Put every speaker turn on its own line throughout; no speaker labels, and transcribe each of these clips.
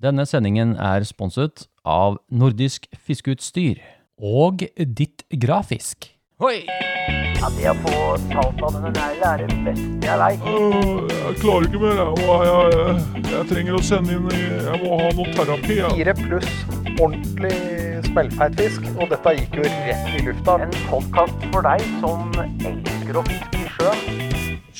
Denne sendingen er sponset av Nordisk Fiskeutstyr.
Og ditt grafisk.
Hoi!
Ja, det å få talt av denne negla er det beste jeg veit.
Øh, Jeg klarer ikke mer. Jeg, Åh, jeg, jeg, jeg trenger å sende inn i- Jeg må ha noe terapi. Jeg.
Fire pluss ordentlig smellfeit fisk, og dette gikk jo rett i lufta.
En podkast for deg som elsker å fiske i sjøen.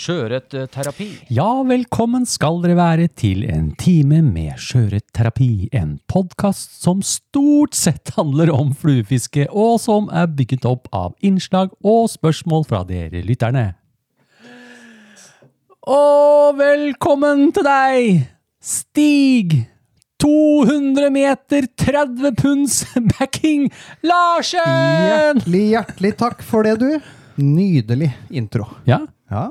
Sjøørretterapi.
Ja, velkommen skal dere være til en time med sjøørretterapi. En podkast som stort sett handler om fluefiske, og som er bygget opp av innslag og spørsmål fra dere lytterne. Og velkommen til deg, Stig! 200 meter, 30 punds backing, Larsen!
Hjertelig, hjertelig takk for det, du. Nydelig intro.
Ja,
Ja,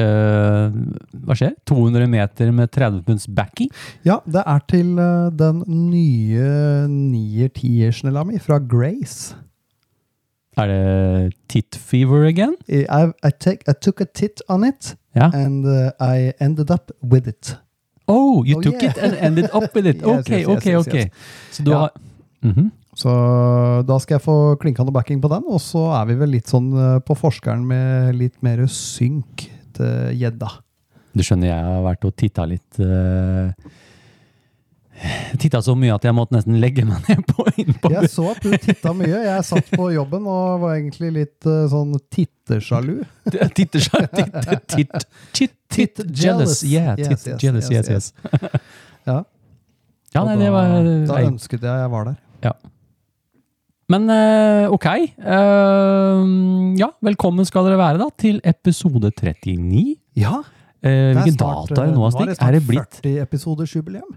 eh, hva skjer? 200 meter med 30 punds backing?
ja det er til eh, den nye nier-tiersnella mi fra Grace.
Er det tit fever again?
I, I, I, take, I took a tit on it,
Ja.
and eh, I ended up with it.
Oh, you
Oh,
took
yeah.
it and ended up with it.
Yes,
Ok,
yes, yes,
ok,
yes,
ok.
yes.
Så du
Ja.
har... Mhm.
Så da skal jeg få klinka noe backing på den, og så er vi vel litt sånn eh, på forskeren med litt mer synk til gjedda.
Du skjønner, jeg har vært og tittet litt... eh, tittet så mye at jeg måtte nesten legge meg ned på inn på
Jeg så at du titta mye. Jeg satt på jobben og var egentlig litt eh, sånn tittersjalu.
Titter seg, titter, titt, titt, titt, jealous.
jealous.
Yeah,
Yes,
titt,
yes,
jealous, yes,
yes,
yes.
Ja.
Ja,
Og
nei,
da,
det var... eh,
da
nei.
ønsket jeg jeg var der.
Ja. Men eh, ok. Eh, ja, velkommen skal dere være da til episode 39.
Ja,
Eh,
det er
hvilken
snart,
data er det nå,
eh,
Stig?
snart
Er det blitt
40 episoders jubileum.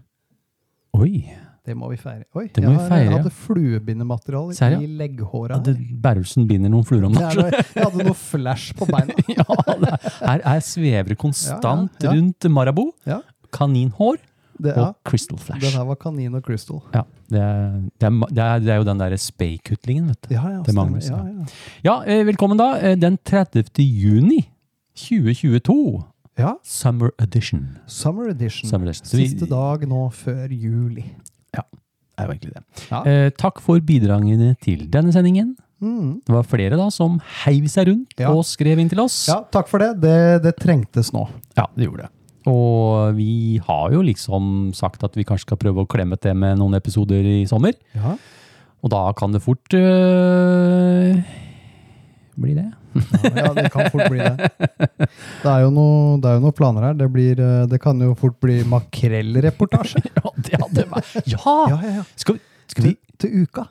Oi!
Det må vi feire. Oi,
Det må
jeg eh,
vi feire, ja.
hadde fluebindemateriale
Serr, ja.
i legghåra.
At Berrelsen binder noen fluer om
Det er
natta.
noe- Jeg hadde noe flash på beina.
ja, det er, her er svever konstant
Ja, ja, ja.
rundt Marabou.
Ja,
Kaninhår
det,
og
ja.
Crystal
Den
Flash.
her var kanin og crystal.
Ja, det, er, det, er, ma- det, er, det er jo den derre spaykutlingen, vet du.
Ja, ja,
Det
stemmer.
mangler,
ja, ja.
Ja, eh, velkommen da. eh, Den 30. juni 2022.
ja,
Summer edition.
Summer edition.
Summer edition. Så vi-
Siste dag nå før juli.
Det er jo egentlig det.
Ja.
Eh, takk for bidragene til denne sendingen.
Mm.
Det var flere da som heiv seg rundt
Ja.
og skrev inn til oss.
Ja, takk for det. det. Det trengtes nå.
Ja, det gjorde det. Og vi har jo liksom sagt at vi kanskje skal prøve å klemme til med noen episoder i sommer.
Ja.
Og da kan det fort øh, bli det.
Ja, det kan fort bli det. Det er jo, noe, det er jo noen planer her. Det, blir, eh, det kan jo fort bli makrellreportasje.
Ja, det hadde vært Ja!
Ja, ja, ja.
Skal, vi- skal vi
Til, til uka.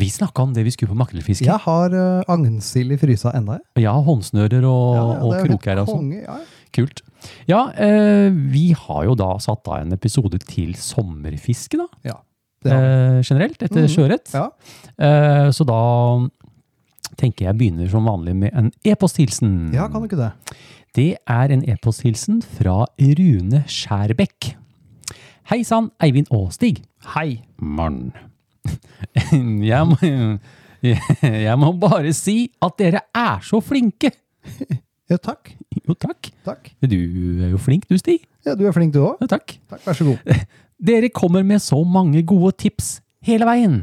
Vi snakka om det vi skulle på makrellfiske.
Jeg har uh, agnsild i frysa enda. jeg.
Ja, håndsnører og,
Ja, ja,
og
det er helt
kroker og sånn.
konge, ja.
Kult. Ja, øh, vi har jo da satt av en episode til sommerfiske, da.
Ja, det har vi.
eh, generelt, etter
Mhm.
sjøørret.
ja.
Eh, så da tenker jeg begynner som vanlig med en e-posthilsen.
ja, kan du ikke det?
Det er en e-posthilsen fra Rune Skjærbekk. Hei sann, Eivind og Stig. Hei. Morn. Jeg må, jeg må bare si at dere er så flinke.
Ja, takk.
Jo, takk.
takk.
Du er jo flink du, Stig.
Ja, du er flink du òg.
Jo, takk.
Takk, vær så god.
Dere kommer med så mange gode tips hele veien.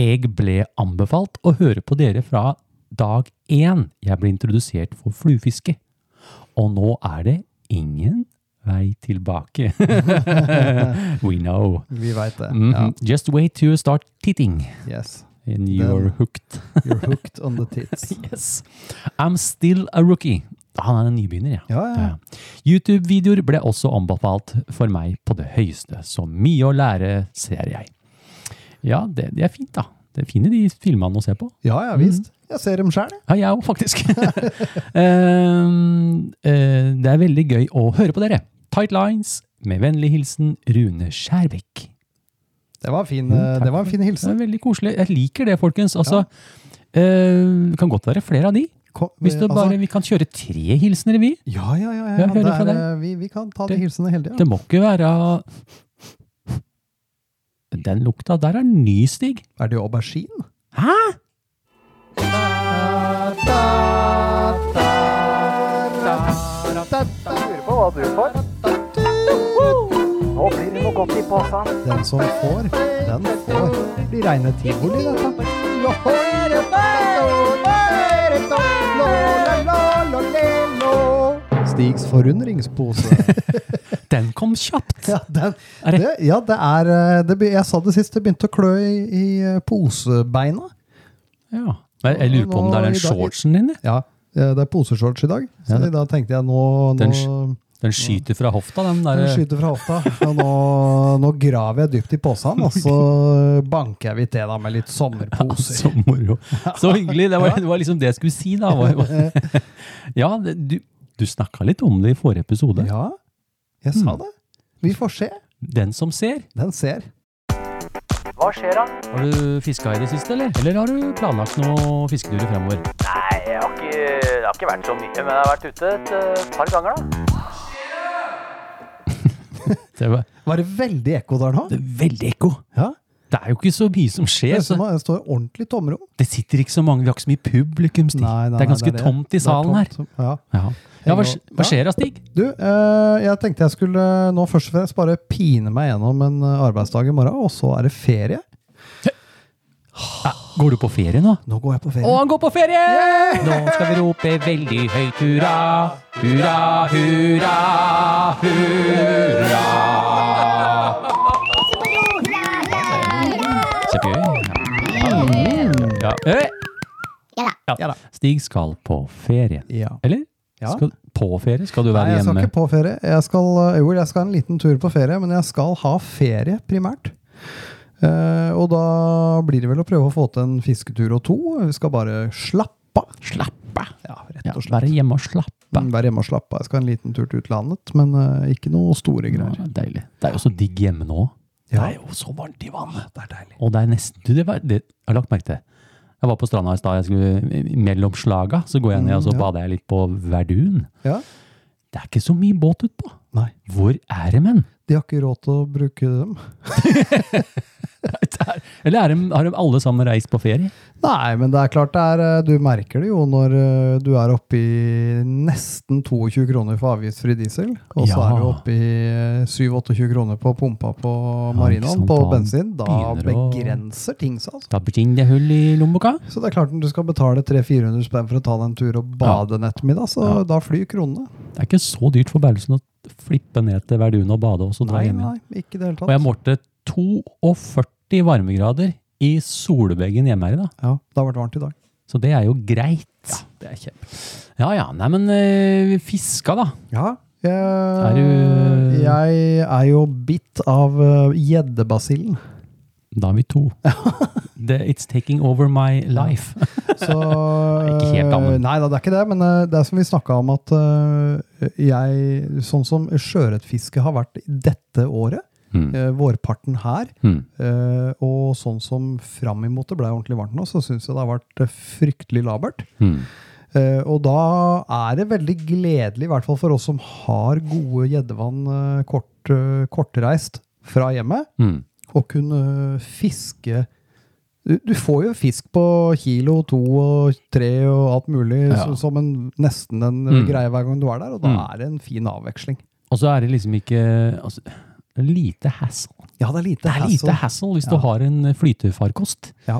Jeg ble anbefalt å høre på dere fra dag én jeg ble introdusert for fluefiske. Og nå er det ingen vei tilbake. We know.
Vi veit det. Ja.
Mhm. Just wait to start titting
Yes.
and you're
Den-
hooked.
You're hooked on the tits.
Yes. I'm still a rookie. Han er en nybegynner, ja.
Ja, ja.
Ja. YouTube-videoer ble også anbefalt for meg på det høyeste, så mye å lære ser jeg. Ja, det, det er fint da. Det er fine de filmene å se på.
ja, ja visst.
Mhm.
Jeg ser dem sjæl, jeg.
Ja, jeg òg, faktisk. Ehm, eh, det er veldig gøy å høre på dere. Tight lines, med vennlig hilsen Rune Skjærbekk.
Det var, en fin,
Jo,
eh,
Mhm, takk
det var en
for-
fin
Det
hilsen.
er veldig koselig. Jeg liker det, folkens. Altså, eh, det kan godt være flere av de.
Kom-
Hvis det
altså-
bare, vi kan kjøre tre hilsener, vi.
Ja, ja, ja.
Ja,
ja.
hører
Det
fra
er,
deg.
eh, vi, vi kan ta de
Det-
hilsenene hele tida.
Det må ikke være Den lukta der er ny, Stig.
Er det aubergine?
Hæ?
Lurer på hva du får. Nå blir det noe godt i posen.
Den som får, den får. Det blir reine tivoli, dette. Lo, ere, bæro, ere, do, lo, la, la, lo, le, lo. Stigs forundringspose.
Den kom kjapt!
Ja, den,
Er det-
det, ja, det er eh, det, be- Jeg sa det sist, det begynte å klø i, i eh, posebeina.
Ja. Jeg, jeg lurer på om det er den shortsen din. jeg.
Ja, eh, det er poseshorts i dag. Så
Ja, det-
da tenkte jeg nå,
Den Eh.
nå
Den skyter fra hofta, den
Den
der.
skyter fra hofta. Og nå, nå graver jeg dypt i posen, og så banker jeg vidt det da med litt sommerposer.
Så moro. Så hyggelig. Det var, det var liksom det jeg skulle si, da. Var- var- Ja, det- du, du snakka litt om det i forrige episode.
Eh, Ja, jeg sa
Hmm.
det. Vi får se.
Den som ser.
Den ser.
Hva skjer da?
Har du fiska i det siste, eller? Eller har du planlagt noen fisketurer fremover?
Nei, jeg har ikke, det har ikke vært så mye, men jeg har vært ute et eh, par ganger da.
Det var
Var det veldig ekko der nå?
det er veldig ekko.
Ja.
Det er jo ikke så mye som
Det
skjer.
er
Så
som om det står ordentlig tomrom.
det sitter ikke så mange, vi har ikke så mye publikum, Stig.
Nei, nei,
det er
nei,
ganske tomt i
Det er
salen her.
tomt. Ja.
Ja, ja hva, sk- hva
Ja.
skjer da, Stig?
Du, eh, jeg tenkte jeg skulle eh, nå først og fremst bare pine meg gjennom en eh, arbeidsdag i morgen, og så er det ferie.
Går du på ferie nå?
Nå går jeg på ferie.
Og han går på ferie! Nå skal vi rope veldig høyt hurra, hurra, hurra, hurra. Kjempegøy. Ja. Ja. Mm. Ja.
Ja da.
Stig skal på ferie.
Ja.
Eller?
Ja.
Skal, på ferie? Skal du
Nei,
være
jeg skal
hjemme?
ikke på ferie. Jeg skal, eh, jo, jeg skal en liten tur på ferie, men jeg skal ha ferie primært. Eh, og da blir det vel å prøve å få til en fisketur og to. Vi skal bare slappe av.
Slappe av.
Ja, rett
Ja,
og slett.
være hjemme og slappe av.
Være hjemme og slappe av. Jeg skal ha en liten tur til utlandet, men eh, ikke noe store
Ja,
greier.
deilig. Det er jo så digg hjemme nå. Det
Ja.
er jo så varmt i vannet. Det er deilig. Og det er nesten Du, det var, det, jeg har lagt merke til. Jeg var på stranda i stad. jeg skulle- Mellom slaga så går jeg ned og så
Mm, ja.
bader jeg litt på Verdun.
Ja?
Det er ikke så mye båt utpå.
Nei.
Hvor er det menn?
De har ikke råd til å bruke dem.
Det er- Eller er de, har de alle sammen reist på ferie?
Nei, men det er klart det er eh, Du merker det jo når eh, du er oppe i nesten 22 kroner for avgiftsfri diesel, og så
Ja.
er du oppe i eh, 27-28 kroner på pumpa på
ikke
marinaen
sant,
på
da
bensin. Da
begynner å-
begrenser ting seg, altså.
Da blir det hull i lommeboka.
Så det er klart når du skal betale 300-400 spenn for å ta deg en tur og bade en ettermiddag, så da flyr kronene.
Det er ikke så dyrt for Berlesen å flippe ned til Verdun og bade og så dra
Nei,
hjem igjen.
nei, ikke i det hele
Og jeg
tatt.
målte 42 varmegrader i solveggen hjemme her i dag.
Ja, det har vært varmt i dag.
Så det er jo greit. Ja, det er kjempe. Ja, ja. Nei, men eh, fiska, da.
Ja. Jeg,
Er du-
jeg er jo bitt av eh, gjeddebasillen.
Da er vi to. The, it's taking over my life.
Så, eh,
Ikke helt, da, men-
Nei da, det er ikke det, men eh, det er som vi snakka om at eh, jeg Sånn som sjøørretfiske har vært dette året,
Mm.
eh, vårparten her,
Mm.
eh, og sånn som fram imot det ble ordentlig varmt nå, så syns jeg det har vært eh, fryktelig labert.
Mm.
Eh, og da er det veldig gledelig, i hvert fall for oss som har gode gjeddevann eh, kort, eh, kortreist fra hjemmet,
Mm.
å kunne fiske du, du får jo fisk på kilo, to og tre og alt mulig,
Ja.
så, som en, nesten en
Mm.
greie hver gang du er der, og da
Mm.
er det en fin avveksling.
Og så er det liksom ikke altså, det er lite hassle.
Ja, det er lite
Det er lite hassle hvis du
Ja.
har en flytefarkost.
Ja.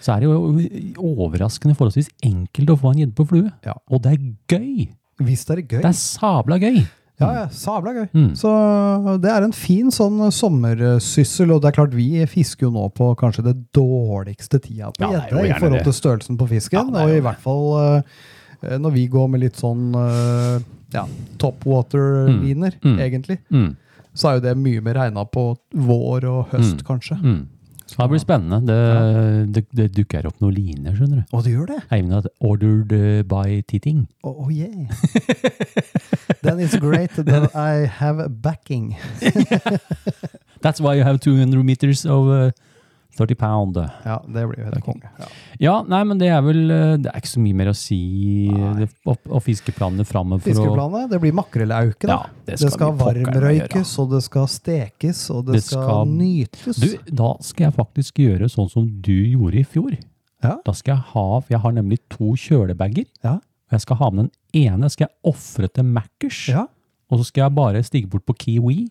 Så er det jo overraskende forholdsvis enkelt å få en gjedde på flue.
Ja.
Og det er gøy!
Hvis det er gøy.
Det er sabla gøy!
Ja, ja, sabla gøy.
Mm.
Så det er en fin sånn sommersyssel, og det er klart vi fisker jo nå på kanskje det dårligste tida på
Ja, det er jo
gjedde i
gjerne det.
forhold til størrelsen på fisken,
Ja, det er
og
jo
i hvert fall eh, når vi går med litt sånn eh, ja, topwater-liner,
Mm. Mm.
egentlig.
Mm.
så er jo det mye mer regna på vår og høst, kanskje.
Mm. Det blir spennende. Det, det, det dukker opp noen liner, skjønner du.
Å, det gjør det?
Eivind har ordered uh, by titting.
Oh, oh yeah. Then it's great that I have backing.
That's why you have 200 meters of uh, 30 pound.
Ja, det blir jo helt konge. Ja.
Ja, nei, men det er vel eh, Det er ikke så mye mer å si. uh, Det, og, og fiskeplanene framme for å
Fiskeplanet, det blir makrellauke, da.
Ja, det
det
skal
skal,
vi pokker meg
varmrøykes, og det skal stekes, og det,
Det
skal,
skal-
nytes.
du, Da skal jeg faktisk gjøre sånn som du gjorde i fjor.
Ja.
Da skal jeg ha for Jeg har nemlig to kjølebager.
Ja.
Og jeg skal ha med den ene skal jeg ofre til Mackers.
Ja,
Og så skal jeg bare stige bort på Kiwi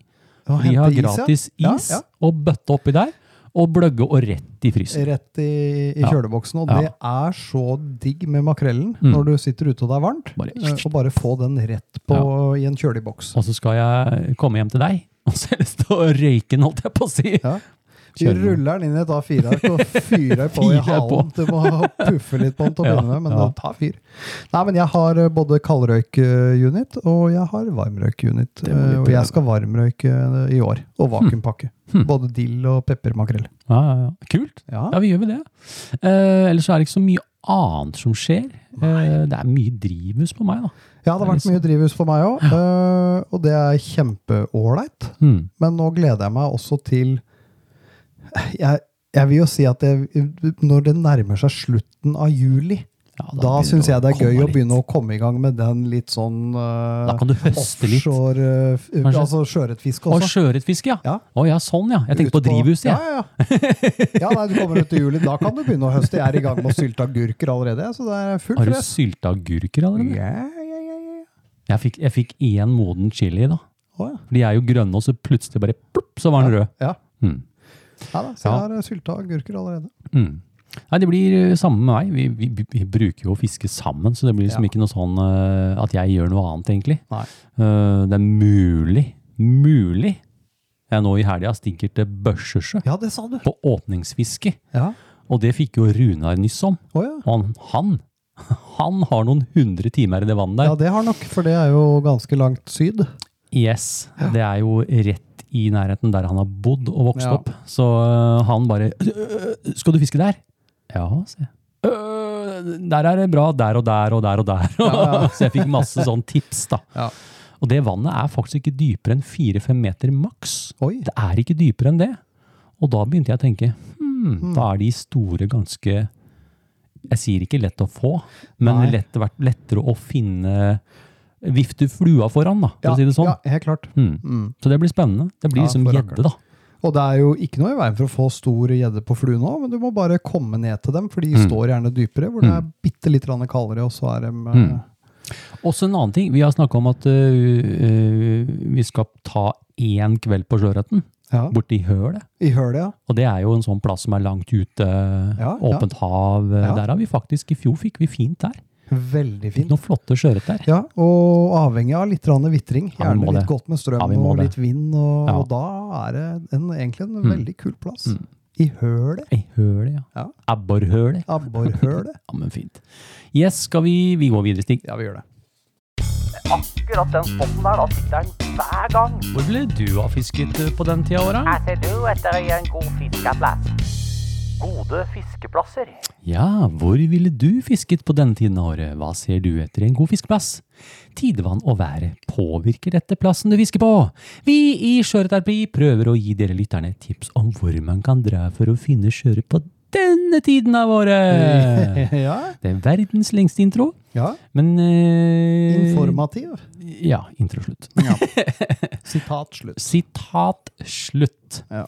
Å
De har
hente is, ja.
gratis
Ja,
is
ja.
og bøtte oppi der, og bløgge og rett i frysen.
Rett i, i
Ja.
kjøleboksen. Og
Ja.
det er så digg med makrellen
Mm.
når du sitter ute og det er varmt.
Bare-
eh, Og bare få den rett på i en kjøleboks.
Og så skal jeg komme hjem til deg, og så har jeg lyst til å røyke den, holdt jeg på å si.
Ja. Du
Kjører den.
ruller den inn i et A4-ark og fyrer på i
Fyrer
halen.
på.
Du må puffe litt på den til å
Ja,
begynne med, men
ja.
den tar fyr. Nei, men jeg har eh, både kaldrøyk-unit og jeg har varmrøyk-unit.
må vi Hm.
eh, Og jeg skal varmrøyke eh, i år. Og vakuumpakke. Både dill og peppermakrell.
Ja, ja, ja. Kult.
Ja.
Ja, vi gjør vel det. Eh, ellers er det ikke så mye annet som skjer. Eh, det er mye drivhus på meg, da.
Ja, det har vært mye drivhus for meg òg, og det er kjempeålreit.
Mm.
Men nå gleder jeg meg også til Jeg, jeg vil jo si at det, når det nærmer seg slutten av juli,
Ja,
da,
begynner
syns jeg det er
komme
gøy å
litt.
begynne å komme i gang med den litt sånn eh,
Da kan du høste litt.
offshore eh, f-
Kanskje?
Altså sjøørretfiske
Og
også.
sjøørretfiske, ja.
Ja.
Å ja, sånn ja. Jeg tenker på
Ut
drivhuset, jeg.
Ja, ja. ja. ja nei, du kommer ut i juli. Da kan du begynne å høste. Jeg er i gang med å sylte agurker allerede, så det er fullt
Har du
press.
sylta agurker allerede?
Ja, ja, ja, ja.
Jeg fikk, jeg fikk én moden chili, da.
Å, ja.
De er jo grønne, og så plutselig bare plopp, så var den rød.
ja.
Mm.
Ja da, så jeg har eh, sylta agurker allerede.
Mm. Nei, det blir eh, samme med meg. Vi, vi, b- vi bruker jo å fiske sammen, så det blir liksom
Ja.
ikke noe sånn eh, at jeg gjør noe annet, egentlig.
Nei.
Eh, det er mulig, mulig jeg nå i helga stinker til Børsesjø
Ja, det sa du.
på åpningsfiske.
Ja.
Og det fikk jo Runar nyss om.
Å, ja.
Og han, han, han har noen hundre timer i det vannet der.
ja, det har nok, for det er jo ganske langt syd.
Yes, det er jo rett i nærheten der han har bodd og vokst
Ja.
opp. Så øh, han bare «Øh, Skal du fiske der? Ja, sier jeg. «Øh, Der er det bra. Der og der og der og der. så jeg fikk masse sånn tips, da.
Ja.
Og det vannet er faktisk ikke dypere enn fire-fem meter maks.
Oi.
Det er ikke dypere enn det. Og da begynte jeg å tenke hmm, da er de store ganske Jeg sier ikke lett å få, men
Nei.
lett, vært lettere å finne Vifte flua foran, da, for å si det sånn.
Ja, helt klart.
Mm. Så det blir spennende. Det blir
Ja,
liksom
for
gjedde, da.
Og det er jo ikke noe i veien for å få stor gjedde på flue nå, men du må bare komme ned til dem, for de
Mm.
står gjerne dypere, hvor det er bitte litt grann kaldere, og så er de eh,
Mm. Også en annen ting. Vi har snakka om at øh, øh, vi skal ta én kveld på sjøørreten
ja,
borti hølet.
i hølet, ja.
Og det er jo en sånn plass som er langt ute,
ja.
åpent hav.
Ja.
Der har vi faktisk I fjor fikk vi fint der.
Veldig
Fikk
fint.
noen flotte sjøørret der.
Ja, og avhengig av litt grann vitring.
Ja, vi
Gjerne
må
litt
det.
godt med strøm
Ja, vi må
og
det.
litt vind, og,
Ja. Mm.
og da er det en, egentlig en veldig kul plass. I hølet.
Ei høle, ja.
Ja.
Abborrhøle.
Abborrhølet.
Ja, men fint. Yes, skal vi Vi går videre, Stig.
Ja, vi gjør det.
Akkurat den spotten der, da sitter den hver gang.
Hvor ville du ha fisket øh, på den tida av året?
Her ser du etter en god fiskeplass. Gode fiskeplasser.
Ja, hvor ville du fisket på denne tiden av året? Hva ser du etter i en god fiskeplass? Tidevann og været påvirker dette plassen du fisker på. Vi i Sjøørretterapi prøver å gi dere lytterne tips om hvor man kan dra for å finne sjøørret på denne tiden av året.
ja.
Det er verdens lengste intro,
ja.
men eh,
Informativ.
Ja, intro slutt.
Sitat slutt.
Sitat slutt.
Ja.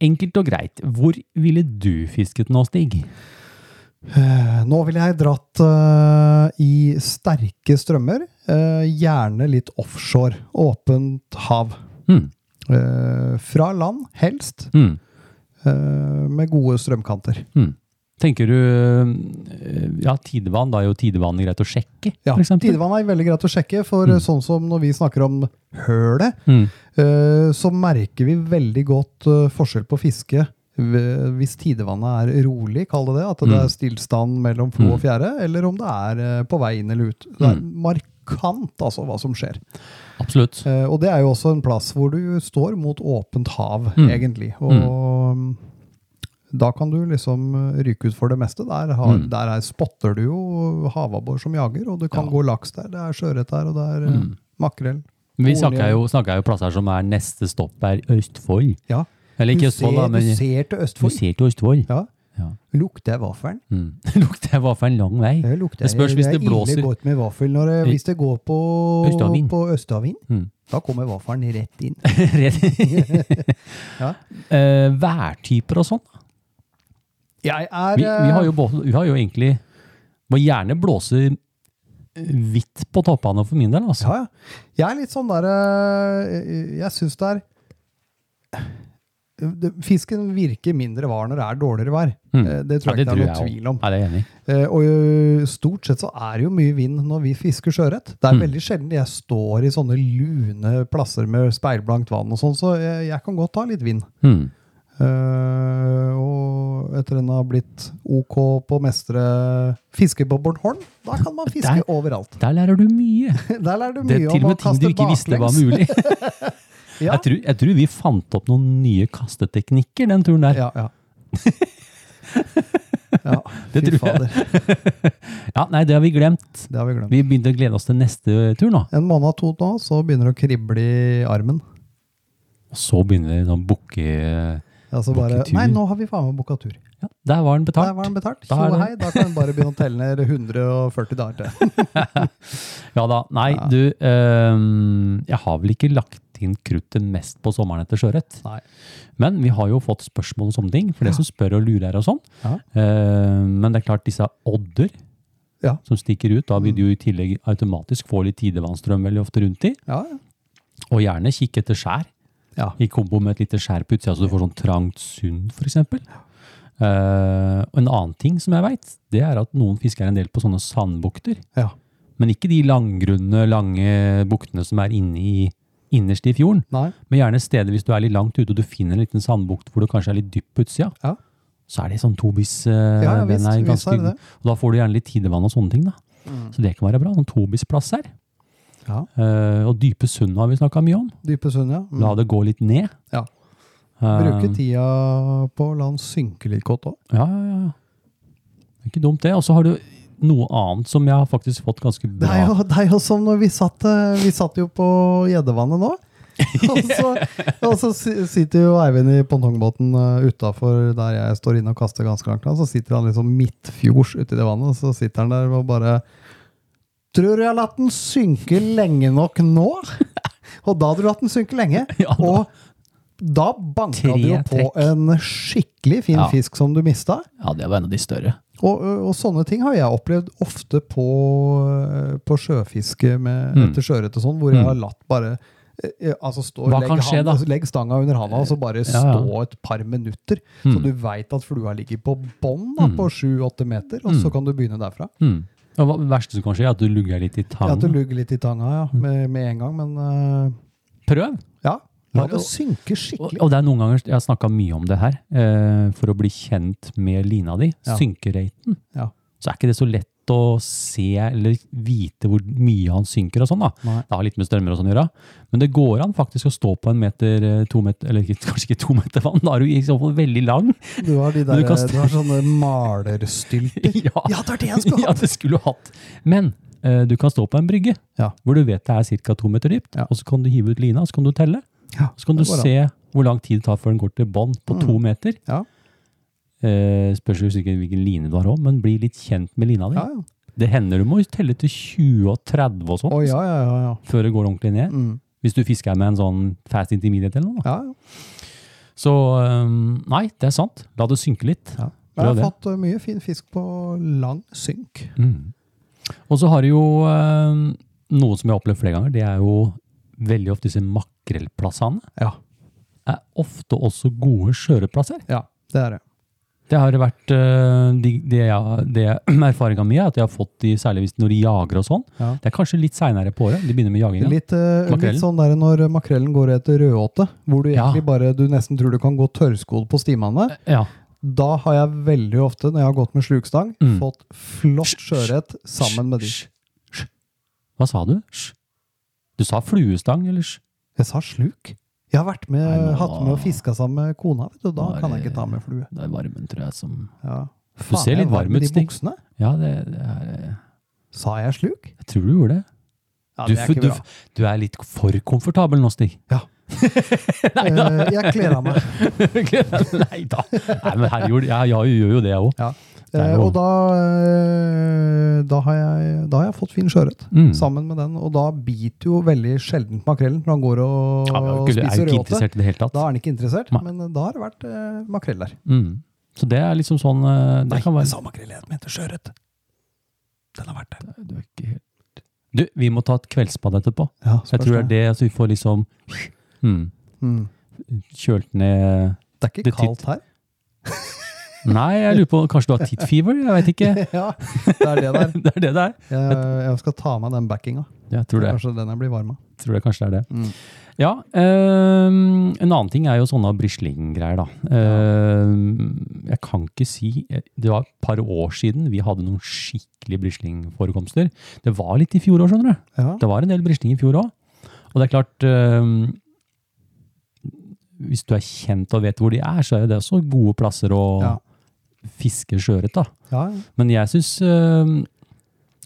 Enkelt og greit, hvor ville du fisket nå, Stig?
Eh, Nå ville jeg dratt eh, i sterke strømmer, eh, gjerne litt offshore, åpent hav.
Hmm.
Eh, fra land, helst,
Hmm.
eh, med gode strømkanter.
Tenker du øh, Ja, tidevann. Da er jo tidevannet greit å sjekke,
Ja,
for eksempel.
Tidevann er veldig greit å sjekke, for eh, sånn som når vi snakker om hølet,
Mm.
eh, så merker vi veldig godt eh, forskjell på fiske ved- hvis tidevannet er rolig, kall det det, at
Mm.
det er stillstand mellom flo og fjære, eller om det er eh, på vei inn eller ut. Det er
Mm.
markant, altså, hva som skjer.
Absolutt.
Eh, Og det er jo også en plass hvor du står mot åpent hav, egentlig. Og mm. da kan du liksom eh, ryke ut for det meste. Der, har,
Mm.
der er, spotter du jo havabbor som jager, og du kan gå laks der. Det er sjøørret der, og det er eh, makrell.
Mm. Vi
hornhjell.
snakker jo, snakker jo plasser som er neste stopp er Østfold.
Ja.
Eller
Du
ikke Østfold, da,
ser-
men
Du ser til
du
Østfold.
ser til Østfold.
Ja.
Ja.
Lukter jeg vaffelen?
Mm. Lukter jeg var for en lang vei.
Det lukter
Det spørs hvis det blåser.
ille godt med vaffel når, det- hvis det går på
Østavind.
på Østavind.
Mm.
Da kommer vaffelen rett inn. Ja.
Eh, Værtyper og sånn.
Jeg er
Vi, vi, har
eh,
jo, både- vi har jo egentlig Må gjerne blåse hvitt på toppene for min del, altså.
Ja, ja. Jeg er litt sånn der eh, Jeg syns det er det- Fisken virker mindre var når det er dårligere vær.
Mm.
Eh, Det tror jeg ikke det er noe tvil om.
Er det er jeg enig i?
Eh, Og ø, stort sett så er det jo mye vind når vi fisker sjøørret. Det er
Mm.
veldig sjelden jeg står i sånne lune plasser med speilblankt vann og sånn, så jeg, jeg kan godt ta litt vind.
Mm.
Eh, og etter en har blitt OK på å mestre fiske på Bornholm, da kan man fiske
Der-
overalt.
Der lærer du mye.
Der lærer du
Det
mye
er til og
om å
med ting du
kaste
ikke visste var
baklengs.
mulig.
Ja.
jeg, tror, jeg tror vi fant opp noen nye kasteteknikker den turen der. Ja,
Ja, ja. ja,
Det
fy
tror jeg.
fader.
nei, det har vi glemt.
Det har vi glemt.
Vi begynte å glede oss til neste tur nå.
En måned og to nå, så begynner det å krible i armen.
Og så begynner det å bukke...
Ja, så Altså bare,
Bookatur.
nei, nå har vi faen meg booka tur.
Ja, der var den betalt.
Der var den betalt.
Da
Da,
er det-
hei, da kan den bare begynne å telle ned 140 dager til.
Ja da. Nei,
Ja.
du, øhm, jeg har vel ikke lagt inn kruttet mest på sommeren etter sjøørret.
Nei.
Men vi har jo fått spørsmål om sånne ting, for det som spør og lurer og sånn.
Ja.
Øhm, men det er klart, disse odder
Ja.
som stikker ut, da vil du jo i tillegg automatisk få litt tidevannsstrøm veldig ofte rundt i.
Ja, ja.
Og gjerne kikke etter skjær,
Ja.
i kombo med et lite skjær på utsida, så du får sånn trangt sund, f.eks. Uh, og en annen ting som jeg veit, det er at noen fisker en del på sånne sandbukter.
ja.
Men ikke de langgrunne, lange buktene som er inne i, innerst i fjorden.
Nei.
Men gjerne steder hvis du er litt langt ute og du finner en liten sandbukt hvor det kanskje er litt dypt på utsida.
Ja.
Så er det sånn tobis. eh,
Ja, ja,
den
visst,
er
visst
ganske,
er det det.
Og da får du gjerne litt tidevann og sånne ting. da. Så det kan være bra. Noen tobisplass her.
Ja.
Eh, og dype sund har vi snakka mye om.
Dype sund, ja. Mm.
La det gå litt ned.
Ja.
Eh,
Bruke tida på å la den synke litt godt òg.
Ja, ja, ja, ja. Det er Ikke dumt, det. Og så har du noe annet som jeg har faktisk fått ganske
Det
bra
er, jo, det er jo som når vi satt, eh, vi satt jo på Gjeddevannet nå. og, så, og så si- sitter jo Eivind i pongtongbåten utafor der jeg står inne og kaster ganske langt. da. Så sitter han liksom midtfjords uti det vannet, og så sitter han der og bare Tror du jeg har latt den synke lenge nok nå? Og da hadde du latt den synke lenge.
Ja, da-
og da banka
Tre
du jo på
trekk.
en skikkelig fin
Ja.
fisk som du mista.
Ja, det var en av de større.
Og, og sånne ting har jeg opplevd ofte på, på sjøfiske med,
Mm.
etter sjøørret og sånn, hvor jeg har latt bare eh, eh, altså stå,
Hva
legg
kan skje
hand-
da?
altså Legg stanga under handa og så bare
Ja, ja.
stå et par minutter, så
Mm.
du veit at flua ligger på bånn da, på sju-åtte meter, og så kan du begynne derfra.
Mm. Og hva- det verste som kan skje, er at du lugger litt i
Ja, at du
tangen.
lugger litt i tanga ja,
Mm.
med, med en gang, men eh,
Prøv!
ja. La
Bare å-
det synke
Og,
skikkelig.
og det er noen ganger, jeg har snakka mye om det her, eh, for å bli kjent med lina di,
Ja.
synkereiten,
Ja.
så er ikke det så lett å se eller vite hvor mye han synker og sånn. da.
Nei.
Det har litt med strømmer og sånn å gjøre. Men det går an faktisk å stå på en meter, eh, to meter, eller ikke- kanskje ikke to meter vann, da er du i så fall veldig lang.
Du har de
Men du
der,
kan st-
du har sånne malerstylter.
Ja,
Ja, det er det jeg skulle
Ja,
hatt!
det skulle du hatt. Men eh, du kan stå på en brygge,
Ja.
hvor du vet det er ca. to meter dypt,
Ja.
og så kan du hive ut lina, og så kan du telle.
Ja,
Så kan du
det går an. Mm.
se hvor lang tid det tar før den går til bånn på to meter.
Ja.
Eh, spørs jo sikkert hvilken line du har òg, men bli litt kjent med lina di.
Ja, ja.
Det hender du må telle til 20 og 30 og sånn,
Å, ja, ja, ja, ja.
før det går ordentlig ned.
Mm.
Hvis du fisker med en sånn fast intermediate eller noe. da.
ja, ja.
Så eh, nei, det er sant. La det synke litt.
Ja.
Bra
Jeg har
det.
fått uh, mye fin fisk på lang synk.
Mm. Og så har du jo eh, noe som jeg har opplevd flere ganger, det er jo veldig ofte disse makrellplassene.
Ja.
Er ofte også gode skjøreplasser.
Ja, det er det.
Det har vært eh, de, det jeg, det erfaringa mi er at jeg har fått de, særlig hvis når de jager og sånn.
Ja.
Det er kanskje litt seinere på året. De begynner med jagingen.
Litt, uh,
Makrellen?
litt sånn der når makrellen går etter rødåte, hvor du
Ja. Eh.
egentlig bare du nesten tror du kan gå tørrskodd på stimene.
Ja.
Da har jeg veldig ofte, når jeg har gått med slukstang,
Mm.
fått flott sjøørret sammen med de.
Sj, sj. Hva sa du? Sj. Du sa fluestang, eller? sj?
Jeg sa sluk. Jeg har vært med,
Nei, nå-
hatt med og fiska sammen med kona, vet du. Da
Nå er
kan jeg
det-
ikke ta med flue.
Det er varmen, tror jeg, som
Ja.
Du ser
jeg
litt
var
varm
med
ut,
de
Stig.
buksene.
Ja, det, det er eh,
Sa jeg sluk?
Jeg tror du gjorde det.
Ja,
Du, f- du, f- du er litt for komfortabel nå, Stig.
Ja. Eh, jeg kler av meg.
Nei da. Nei, men herregud, jeg, jeg gjør jo det, jeg òg.
Ja.
Det er
Eh,
jo-
og da, eh, da, har jeg, da har jeg fått fin sjøørret
Mm.
sammen med den. Og da biter jo veldig sjeldent makrellen når han går og,
Jeg er jo
spiser
ikke
rødåte.
interessert i det hele tatt.
Da er han ikke interessert,
Nei.
men da har det vært eh, makrell der.
Mm. Så det er liksom sånn eh, Det kan være
makrell jeg mente sjøørret. Den har vært det.
Du, er ikke helt... du, altså, vi må ta et kveldsbad etterpå.
Ja,
Jeg tror det er det, så vi får liksom mm.
Mm.
kjølt ned
Det er
Det
ikke
titt-
kaldt her.
Nei, jeg lurer på Kanskje du har titt fever? Jeg veit ikke.
Ja, det er det der.
Det er det det er.
Jeg, jeg skal ta med den backinga.
Jeg tror det.
Kanskje den jeg blir varm av.
tror jeg kanskje det er det.
Mm.
Ja, øhm, En annen ting er jo sånne brislinggreier, da. Øhm, jeg kan ikke si eh, Det var et par år siden vi hadde noen skikkelig brislingforekomster. Det var litt i fjor òg, skjønner du.
Ja.
Det var en del brisling i fjor òg. Og det er klart øhm, Hvis du er kjent og vet hvor de er, så er jo det også gode plasser å
Ja.
fiske sjøørret, da.
Ja,
Men jeg syns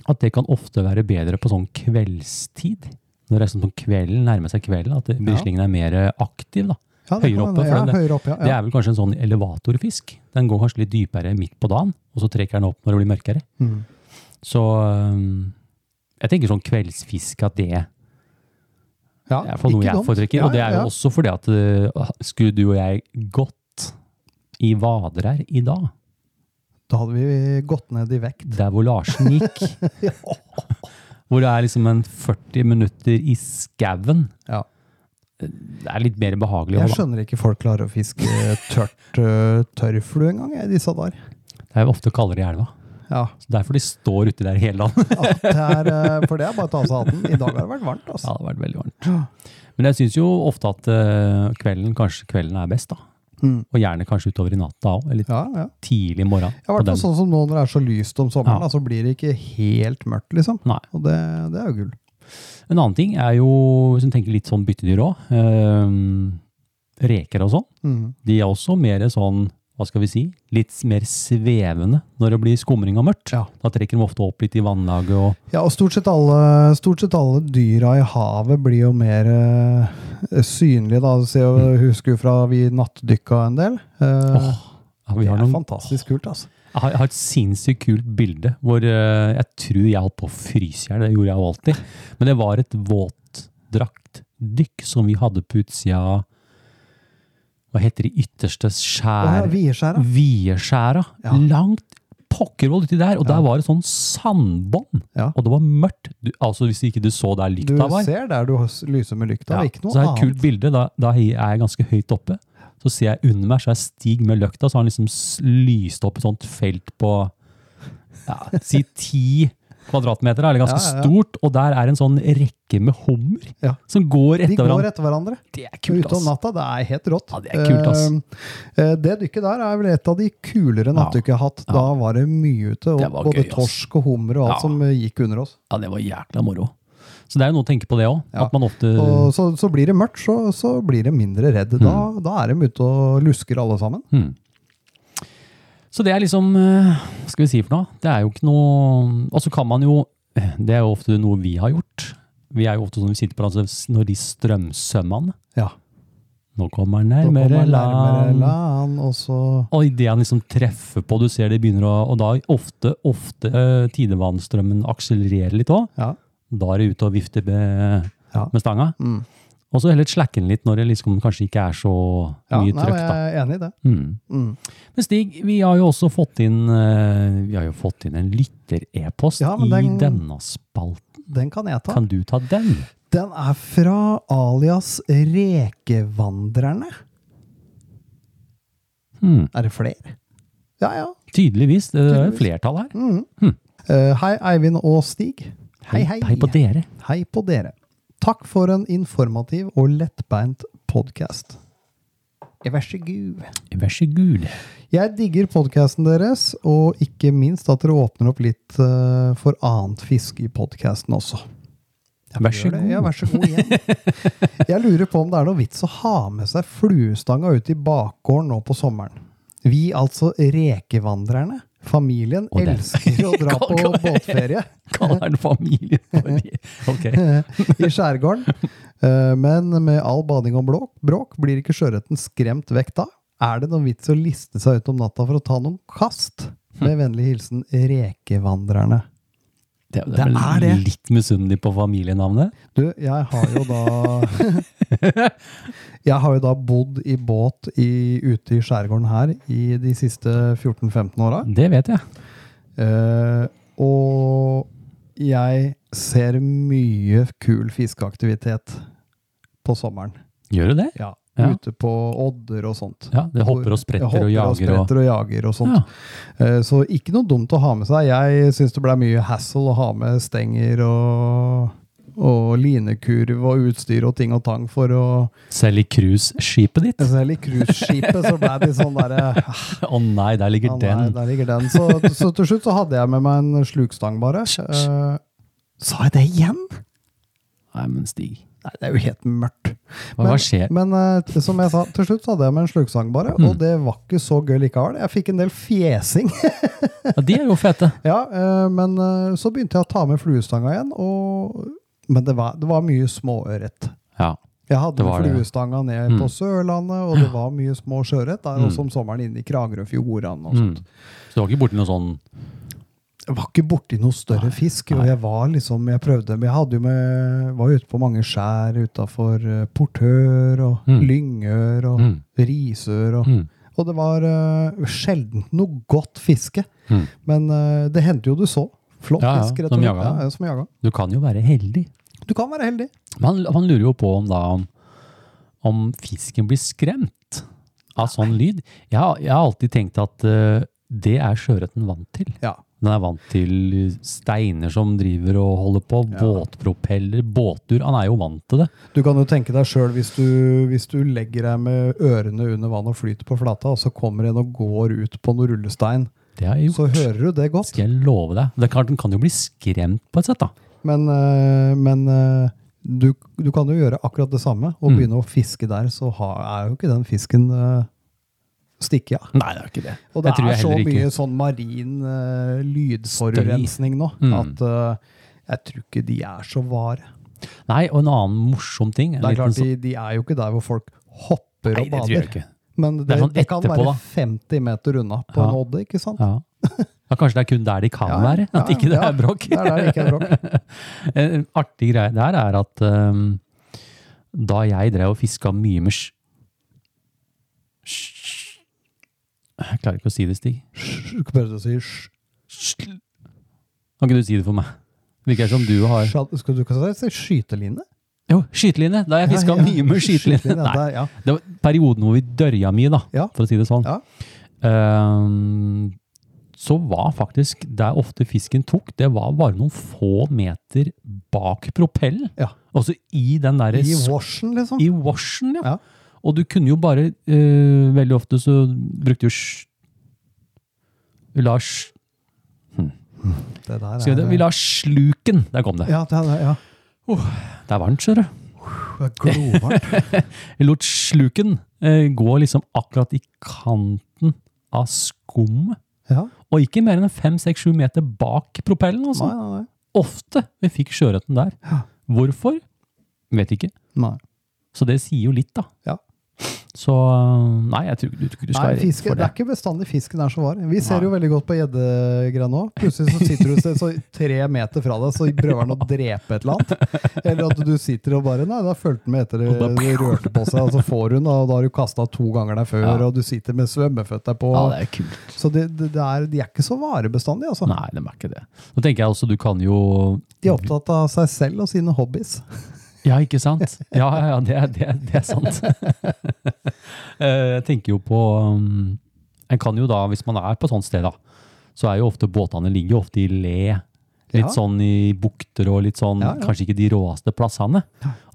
at det kan ofte være bedre på sånn kveldstid. Når det er sånn på kvelden, nærmer seg kvelden, at brislingen er mer eh, aktiv. da.
ja, det
Høyere
kan
oppe, for
hende. Ja,
det-
høyere oppe,
Det
ja. ja.
er vel kanskje en sånn elevatorfisk. Den går kanskje litt dypere midt på dagen, og så trekker den opp når det blir mørkere.
Mm.
Så øhm, jeg tenker sånn kveldsfiske at det
Ja,
er for noe
ikke
jeg
dumt.
foretrekker.
Ja,
og det er
ja,
jo
ja.
også fordi at øh, skulle du og jeg gått i vader her i dag,
Da hadde vi gått ned i vekt.
der hvor Larsen gikk. hvor det er liksom en 40 minutter i skauen. eh,
Ja.
Det er litt mer behagelig.
Jeg
også,
skjønner ikke folk klarer å fiske eh, tørt øh, tørrflue engang, jeg, disse der.
da. Det er jo ofte kaldere i elva.
Ja,
Så derfor de står uti der hele dagen.
ja, det er, øh, for det er bare å ta av seg hatten. I dag har det vært
ja,
varmt,
det
altså.
har vært veldig varmt. Men jeg syns jo ofte at eh, kvelden kanskje kvelden er best, da.
Mm.
Og gjerne kanskje utover i natta òg, eller
Ja, ja.
tidlig morgen.
I
på
hvert fall
den.
sånn som nå når det er så lyst om sommeren,
Ja.
da, så blir det ikke helt mørkt, liksom.
Nei.
Og det, det er jo gull.
En annen ting er jo, hvis en tenker litt sånn byttedyr òg, reker og sånn.
Mm.
De er også mer sånn, hva skal vi si, litt mer svevende når det blir skumring og mørkt.
Ja.
Da trekker de ofte opp litt i vannlaget og
Ja, og stort sett alle, stort sett alle dyra i havet blir jo mer øh, synlige, da. Du ser
Mm.
jo, husker jo fra vi nattdykka en del. Eh,
ja, vi
det
har
er
noen,
fantastisk kult, altså.
jeg, har, jeg har et sinnssykt kult bilde hvor eh, jeg tror jeg holdt på å fryse i hjel. Det gjorde jeg jo alltid. Men det var et våtdraktdykk som vi hadde på utsida Hva heter de ytterste
Og her
skjær...
er Vieskjæra.
Mm. Vieskjæra.
Ja.
Langt pokkervoll uti der. Og der var det sånn sandbånd.
Ja.
Og det var mørkt. Du, altså Hvis ikke du så der
Du
lykta var.
ser der du hos- lyser med lykta, det er ikke
så
noe
det er
annet.
et kult bilde. Da, da er jeg ganske høyt oppe. Så ser jeg under meg, så er Stig med løkta, så har han liksom s- lyst opp et sånt felt på ja, si ti kvadratmeter, da, eller ganske
Ja, ja, ja.
stort. Og der er en sånn rekke med hummer
Ja.
som går
De
etter
går
hverandre.
etter hverandre.
Det er kult,
Ute om
ass.
natta, det er helt rått.
Ja, det er kult, ass.
Eh, eh, Det dykket der er vel et av de kulere nattdykket jeg har hatt. Da var det mye ute,
Det
og
var
både
gøy, ass.
torsk og hummer og alt
Ja.
som eh, gikk under oss.
Ja, det var jækla moro. Så det er jo noe å tenke på det òg.
Ja.
At man ofte
Og så, så blir det mørkt, så, så blir de mindre redd. Da,
Mm.
da er de ute og lusker alle sammen.
Hmm. Så det er liksom eh, Hva skal vi si for noe? Det er jo ikke noe Og så kan man jo eh, Det er jo ofte noe vi har gjort. Vi er jo ofte sånn vi sitter på altså, når de strømsømmene
Ja.
Nå kommer han
Da kommer
nærmere,
man nærmere
land.
land, og så
Og idet han liksom treffer på, du ser det begynner å Og da ofte, ofte eh, tidevannsstrømmen akselererer litt òg.
Ja.
Da er det ute og vifte med,
Ja.
med stanga.
Mm.
Og så heller slakke den litt når det liksom kanskje ikke er så
ja
mye
nei,
trøkk, da.
jeg er enig i det.
Mm.
Mm.
Men Stig, vi har jo også fått inn, eh, vi har jo fått inn en lytter-e-post
Ja,
i
men den-
denne spalten.
Den kan jeg ta.
Kan du ta den?
Den er fra alias Rekevandrerne.
Hmm.
Er det flere? Ja, ja.
Tydeligvis, det er
Tydeligvis.
flertall her.
Eh, hei, Eivind og Stig. hei.
Hei på dere.
Hei på dere. Takk for en informativ og lettbeint podkast. Vær så god.
Vær så god.
Jeg digger podkasten deres, og ikke minst at dere åpner opp litt eh, for annet fiske i podkasten også.
Vær så
Gjør det. Ja,
god.
vær så god igjen. Jeg lurer på om det er noe vits å ha med seg fluestanga ut i bakgården nå på sommeren. Vi, altså rekevandrerne, familien,
Og det-
elsker å dra på båtferie.
Kall den familie. Ok.
i skjærgården. Eh, Men med all bading og blåk, bråk blir ikke sjøørreten skremt vekk da. Er det noen vits å liste seg ut om natta for å ta noen kast? Med vennlig hilsen Rekevandrerne.
Det, det
Det
er
er
vel
det.
litt misunnelig på familienavnet.
Du, jeg har jo da Jeg har jo da bodd i båt i, ute i skjærgården her i de siste 14-15 åra.
Det vet jeg.
Eh, og jeg ser mye kul fiskeaktivitet på sommeren.
Gjør du det?
Ja,
Ja.
ute på odder og sånt.
Ja, det hopper og spretter
Hopper
og jager og,
spretter og jager og sånt.
ja.
Eh, Så ikke noe dumt å ha med seg. Jeg syns det ble mye hassle å ha med stenger og, og linekurv og utstyr og ting og tang for å
Selv i cruiseskipet ditt?
Selv i cruiseskipet så ble de sånn derre
Å nei, der ligger
Ah, Nei,
den.
der ligger den. Så, så til slutt så hadde jeg med meg en slukstang, bare. Eh, sa jeg det igjen?
Nei, men Stig.
Nei, det er jo helt mørkt.
Hva, hva skjer? Mm.
Men eh, som jeg sa, til slutt så hadde jeg med en slukstang, bare. Og det var ikke så gøy likevel. Jeg fikk en del fjesing.
Ja, de er jo fete.
ja, eh, men eh, så begynte jeg å ta med fluestanga igjen, og Men det var, det var mye småørret.
Ja.
Jeg hadde
Det Mm. var
med
det.
fluestanga ned på Sørlandet, og det var mye små sjøørret der, også om sommeren inne i Kragerøfjordene og sånt.
Mm. Så du var ikke borti noe sånn
Jeg var ikke borti noe større fisk. og Jeg var liksom, jeg prøvde, men jeg hadde jo med, var jo ute på mange skjær utafor Portør og
Mm.
Lyngør og Risør. Og, og det var uh, sjelden noe godt fiske. Men eh, det hendte jo du så. Flott
Mm. Ja, ja,
fisk, rett
som
og slett.
jaga.
Ja, ja, som jaga.
Du kan jo være heldig.
Du kan være heldig.
Man, man lurer jo på om da om, om fisken blir skremt av sånn lyd. Jeg, har- jeg har alltid tenkt at eh, det er sjøørreten vant til.
Ja.
Den er vant til steiner som driver og holder på, båtpropeller, båttur. Han er jo vant til det.
Du kan jo tenke deg sjøl, hvis, du- hvis du legger deg med ørene under vann og flyter på flata, og så kommer en og går ut på noe rullestein,
Det har jeg
så
gjort.
hører du det godt.
Skal jeg love deg. Det er klart, den kan jo bli skremt på et sett, da.
Men, eh, men eh, du, du kan jo gjøre akkurat det samme og
Mm.
begynne å fiske der, så ha, er jo ikke den fisken eh, stikke av.
Nei, det er ikke det.
Og det
Jeg tror
er
jeg
så
heller ikke-
mye sånn marin eh, lydforurensning nå
Mm.
at eh, jeg tror ikke de er så vare.
Nei, og en annen morsom ting. en
Det er
liten
klart,
sånn-
de, de er jo ikke der hvor folk hopper
Nei,
og
det tror jeg
bader.
ikke.
Men
Det
det, det,
er sånn
kan
etterpå,
være
da.
50 meter unna på
Ja.
en odde, ikke sant?
Ja. ja, kanskje det er kun der de kan
Ja,
være, at
ja,
ikke det
ja.
er bråk.
Det er der det ikke er bråk.
En artig greie der er at ehm, da jeg drev og fiska mye med sj... sj- Jeg klarer ikke å si det, Stig.
Sj, Prøvde å si sj.
Sl- Kan ikke du si det for meg? Virker som du har
Skal du ikke si skyteline?
Jo, skyteline! Da jeg fiska
Ja, ja.
mye med skyteline.
Skyteline,
Nei,
der, ja.
det var perioden hvor vi dørja mye, da,
Ja.
for å si det sånn.
Ja.
Ehm, så var faktisk der ofte fisken tok, det var bare noen få meter bak propellen.
Ja.
Altså i den derre
I washen, liksom.
I washen, ja.
Ja.
Og du kunne jo bare eh, Veldig ofte så brukte jo sj... Vi la, sj,
Det der
skal vi, det? vi la sluken Der kom det.
Ja, det er, ja.
Det er varmt, ser du.
Det er glovarmt.
Vi lot sluken eh, gå liksom akkurat i kanten av skummet.
Ja.
Og ikke mer enn fem-seks-sju meter bak propellen. Altså.
Nei, nei, nei.
Ofte vi fikk sjøørreten der. Hvorfor? Vet ikke.
nei.
Så det sier jo litt, da.
Ja.
Så eh, nei, jeg tror ikke du, tror ikke du skal
Nei,
være redd
fiske,
for
det
det.
er ikke bestandig fisken er så var. Vi ser jo veldig godt på gjeddegreia nå. Plutselig så sitter du et sted, så tre meter fra deg, så prøver han å drepe et eller annet. Eller at du sitter og bare Nei, da fulgte den med etter det
Og
det rørte på seg, og så får hun, og da har du kasta to ganger der før,
Ja.
og du sitter med svømmeføtter på.
Ja, det er kult.
Så det, det, det er, de er ikke så vare bestandig, altså.
Nei, de er ikke det. Nå tenker jeg også, du kan jo
De er opptatt av seg selv og sine hobbies.
Ja, ikke sant? Ja, ja, ja, det, er- det, er- det er sant. Eh, Jeg tenker jo på um, En kan jo da, hvis man er på et sånt sted, da, så er jo ofte båtene ligger jo ofte i le. Litt
Ja.
sånn i bukter og litt sånn,
Ja, ja.
kanskje ikke de råeste plassene.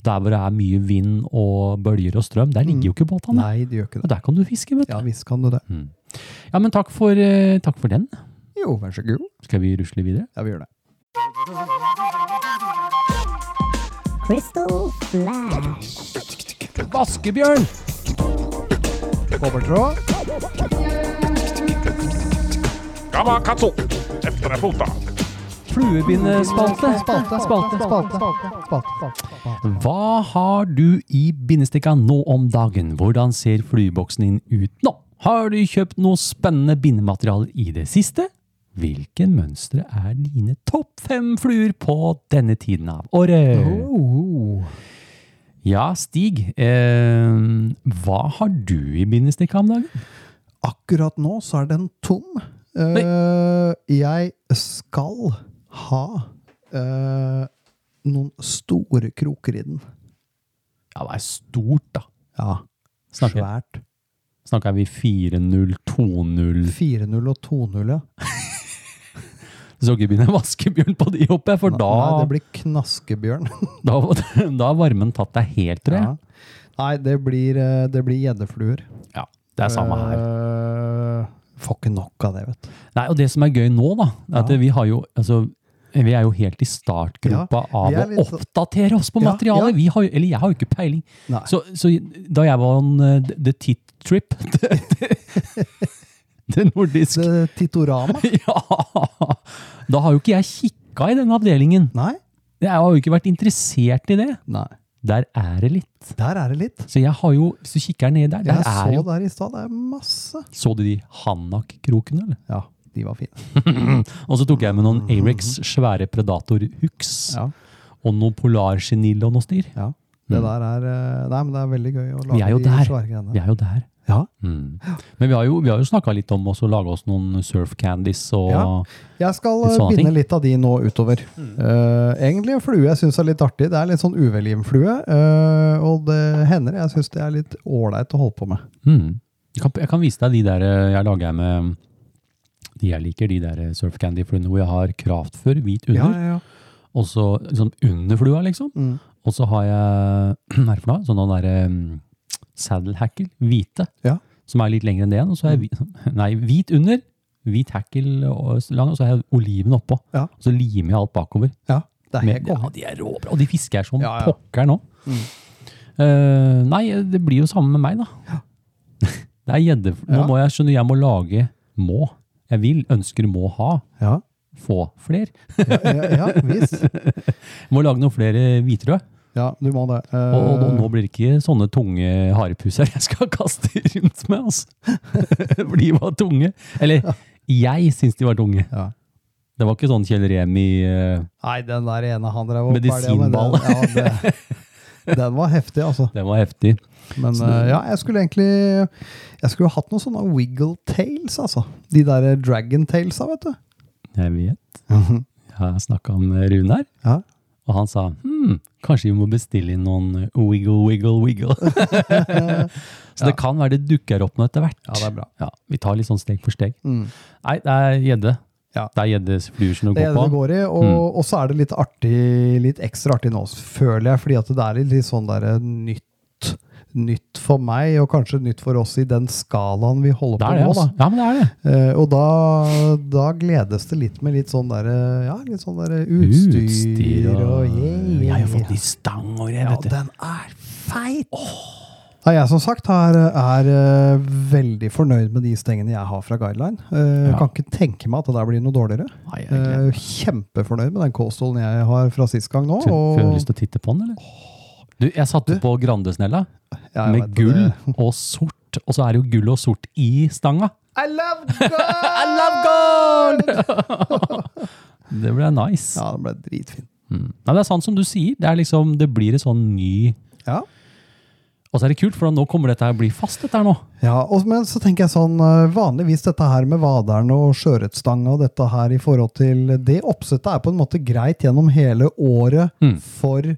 Der hvor det er mye vind og bølger og strøm, der ligger jo ikke båtene.
Mm. Nei, de gjør ikke
Og
det.
der kan du fiske, vet du.
Ja visst kan du
Mm.
det.
Ja, men takk for, eh, takk for den.
Jo, vær så god.
Skal vi rusle videre?
Ja, vi gjør det.
Crystal Flash.
Vaskebjørn!
Kobbertråd.
Kamakatsu! Efter er fota.
Fluebindespalte. Spalte, spalte, spalte. Hva har du i bindestikka nå om dagen? Hvordan ser flueboksen din ut nå? Har du kjøpt noe spennende bindemateriale i det siste? Hvilke mønstre er dine topp fem fluer på denne tiden av året?
Oh.
Ja, Stig, eh, hva har du i bindestikka om dagen?
Akkurat nå så er den tom. Eh, jeg skal ha eh, noen store kroker i den.
Ja, det er stort, da.
Ja.
Snakker,
Svært.
snakker vi 4-0, 2-0
4-0 og 2-0, ja.
Så ikke begynner jeg å vaske bjørn på de oppe, for da,
Nei, det blir knaskebjørn.
da, da har varmen tatt deg helt, tror jeg.
Ja. Nei, det blir, eh, det blir gjeddefluer.
Ja, det er samme her.
Eh, Får ikke nok av det, vet du.
Eh. Nei, og det som er gøy nå, da, det er at vi har jo altså, vi er jo helt i startgropa
Ja, vi
av
er
å
litt så-
oppdatere oss på
Ja,
materialet.
ja.
Vi har, jo- eller jeg har jo ikke peiling.
Nei.
Så, så da jeg var on eh, the tit trip Det, det nordisk
Det Titorama?
Ja! Da har jo ikke jeg kikka i den avdelingen.
Nei?
Jeg har jo ikke vært interessert i det.
Nei.
Der er det litt.
Der er det litt.
Så jeg har jo, hvis du kikker ned der, der
Jeg
er
så
jo
der i stad, det er masse.
Så du de Hanak-krokene, eller?
Ja, de var fine.
Og så tok jeg med noen Arex svære predator-hooks.
Mhm. Ja.
Og noe polarsenil og noe styr.
Ja. Det der er eh, Nei, men det er veldig gøy å
Vi er
lage
jo
de
der.
svære
Vi
greiene.
er jo der.
Ja.
Mm. Men vi har jo, vi har jo snakka litt om også å lage oss noen surf candies og
Ja. Jeg skal
Litt
eh,
sånne
binde
ting.
litt av de nå utover. Eh, egentlig en flue jeg syns er litt artig. Det er litt sånn uvelgivenflue. Uh, og det hender jeg syns det er litt ålreit å holde på med.
mm. jeg, kan, jeg kan vise deg de der eh, jeg lager med de jeg liker, de der eh, surf candy-fluene hvor jeg har kraftfør hvit under, og så liksom under flua, liksom.
Mm.
Og så har jeg hva er det for noe? Sånn derre um, saddle hackle, hvite,
Ja. Mm.
som er litt lengre enn det igjen. Og så er jeg hvit, nei, hvit under, hvit hackle og s- lang, og så har jeg oliven oppå.
Ja.
Og så limer jeg alt bakover.
Ja, det er helt
Med, ja,
konge.
de er råbra, og de fisker jeg som
Ja, Mm. ja.
pokker nå. Eh, nei, det blir jo samme med meg, da. det er gjedde... Nå
Ja.
må jeg skjønne, jeg må lage må. Jeg vil, ønsker, må ha.
Ja,
Få fler.
ja, ja, ja visst.
Må lage noen flere hvitrød.
Ja, du må det. Eh,
Og, og nå, nå blir det ikke sånne tunge harepuser jeg skal kaste rundt med, altså. For de var tunge. Eller, jeg syns de var tunge.
Ja.
Det var ikke sånn Kjell Remi eh,
Nei, den der ene han drev og
Medisinball.
pælja med, den- Ja, det- den var heftig, altså.
Den var heftig.
Men eh, ja, jeg skulle egentlig Jeg skulle hatt noen sånne wiggle tails, altså. De der dragon tailsa, vet du.
Jeg vet. Jeg har snakka med Rune her,
Ja.
og han sa hm, kanskje vi må bestille inn noen eh, wiggle, wiggle, wiggle. Så det kan være det dukker opp noe etter hvert.
Ja, det er bra.
Ja, vi tar litt sånn steg for steg.
Mm.
Nei, det er gjedde.
Ja.
Det er gjeddefluer som
Det
det
er det det
går på.
går i, og,
Hmm.
og så er det litt artig, litt ekstra artig nå, føler jeg, fordi at det er litt, litt sånn der nytt. Nytt for meg, og kanskje nytt for oss i den skalaen vi holder
Det
på
er det,
nå.
altså.
Da.
Ja, men det er det.
Eh, og da, da gledes det litt med litt sånn der, eh, ja, litt sånn der utstyr, og yeah,
Jeg har
yeah.
fått ny stang og det,
Ja,
vet du.
den er feit! Nei, jeg som sagt er, er eh, veldig fornøyd med de stengene jeg har fra Guideline. Eh,
Ja.
Kan ikke tenke meg at det der blir noe dårligere.
Nei, jeg gleder
Eh, kjempefornøyd med den coastalen jeg har fra sist gang nå.
Tror- Får du
Og,
lyst til å titte på den, eller? Du, jeg satte på Grandesnella
Ja, jeg
med
vet
gull
det.
og sort, og så er det jo gull og sort i stanga.
I love
I
God!
love gold! det ble nice.
ja, det ble dritfint.
Mm. Nei, det er sant som du sier. Det, er liksom, det blir en sånn ny
Ja.
Og så er det kult, for nå kommer dette her bli fast, dette her nå.
Ja, og, men så tenker jeg sånn, eh, vanligvis dette her med vaderne og sjøørretstanga og dette her i forhold til det oppsettet er på en måte greit gjennom hele året
Mm.
for, eh,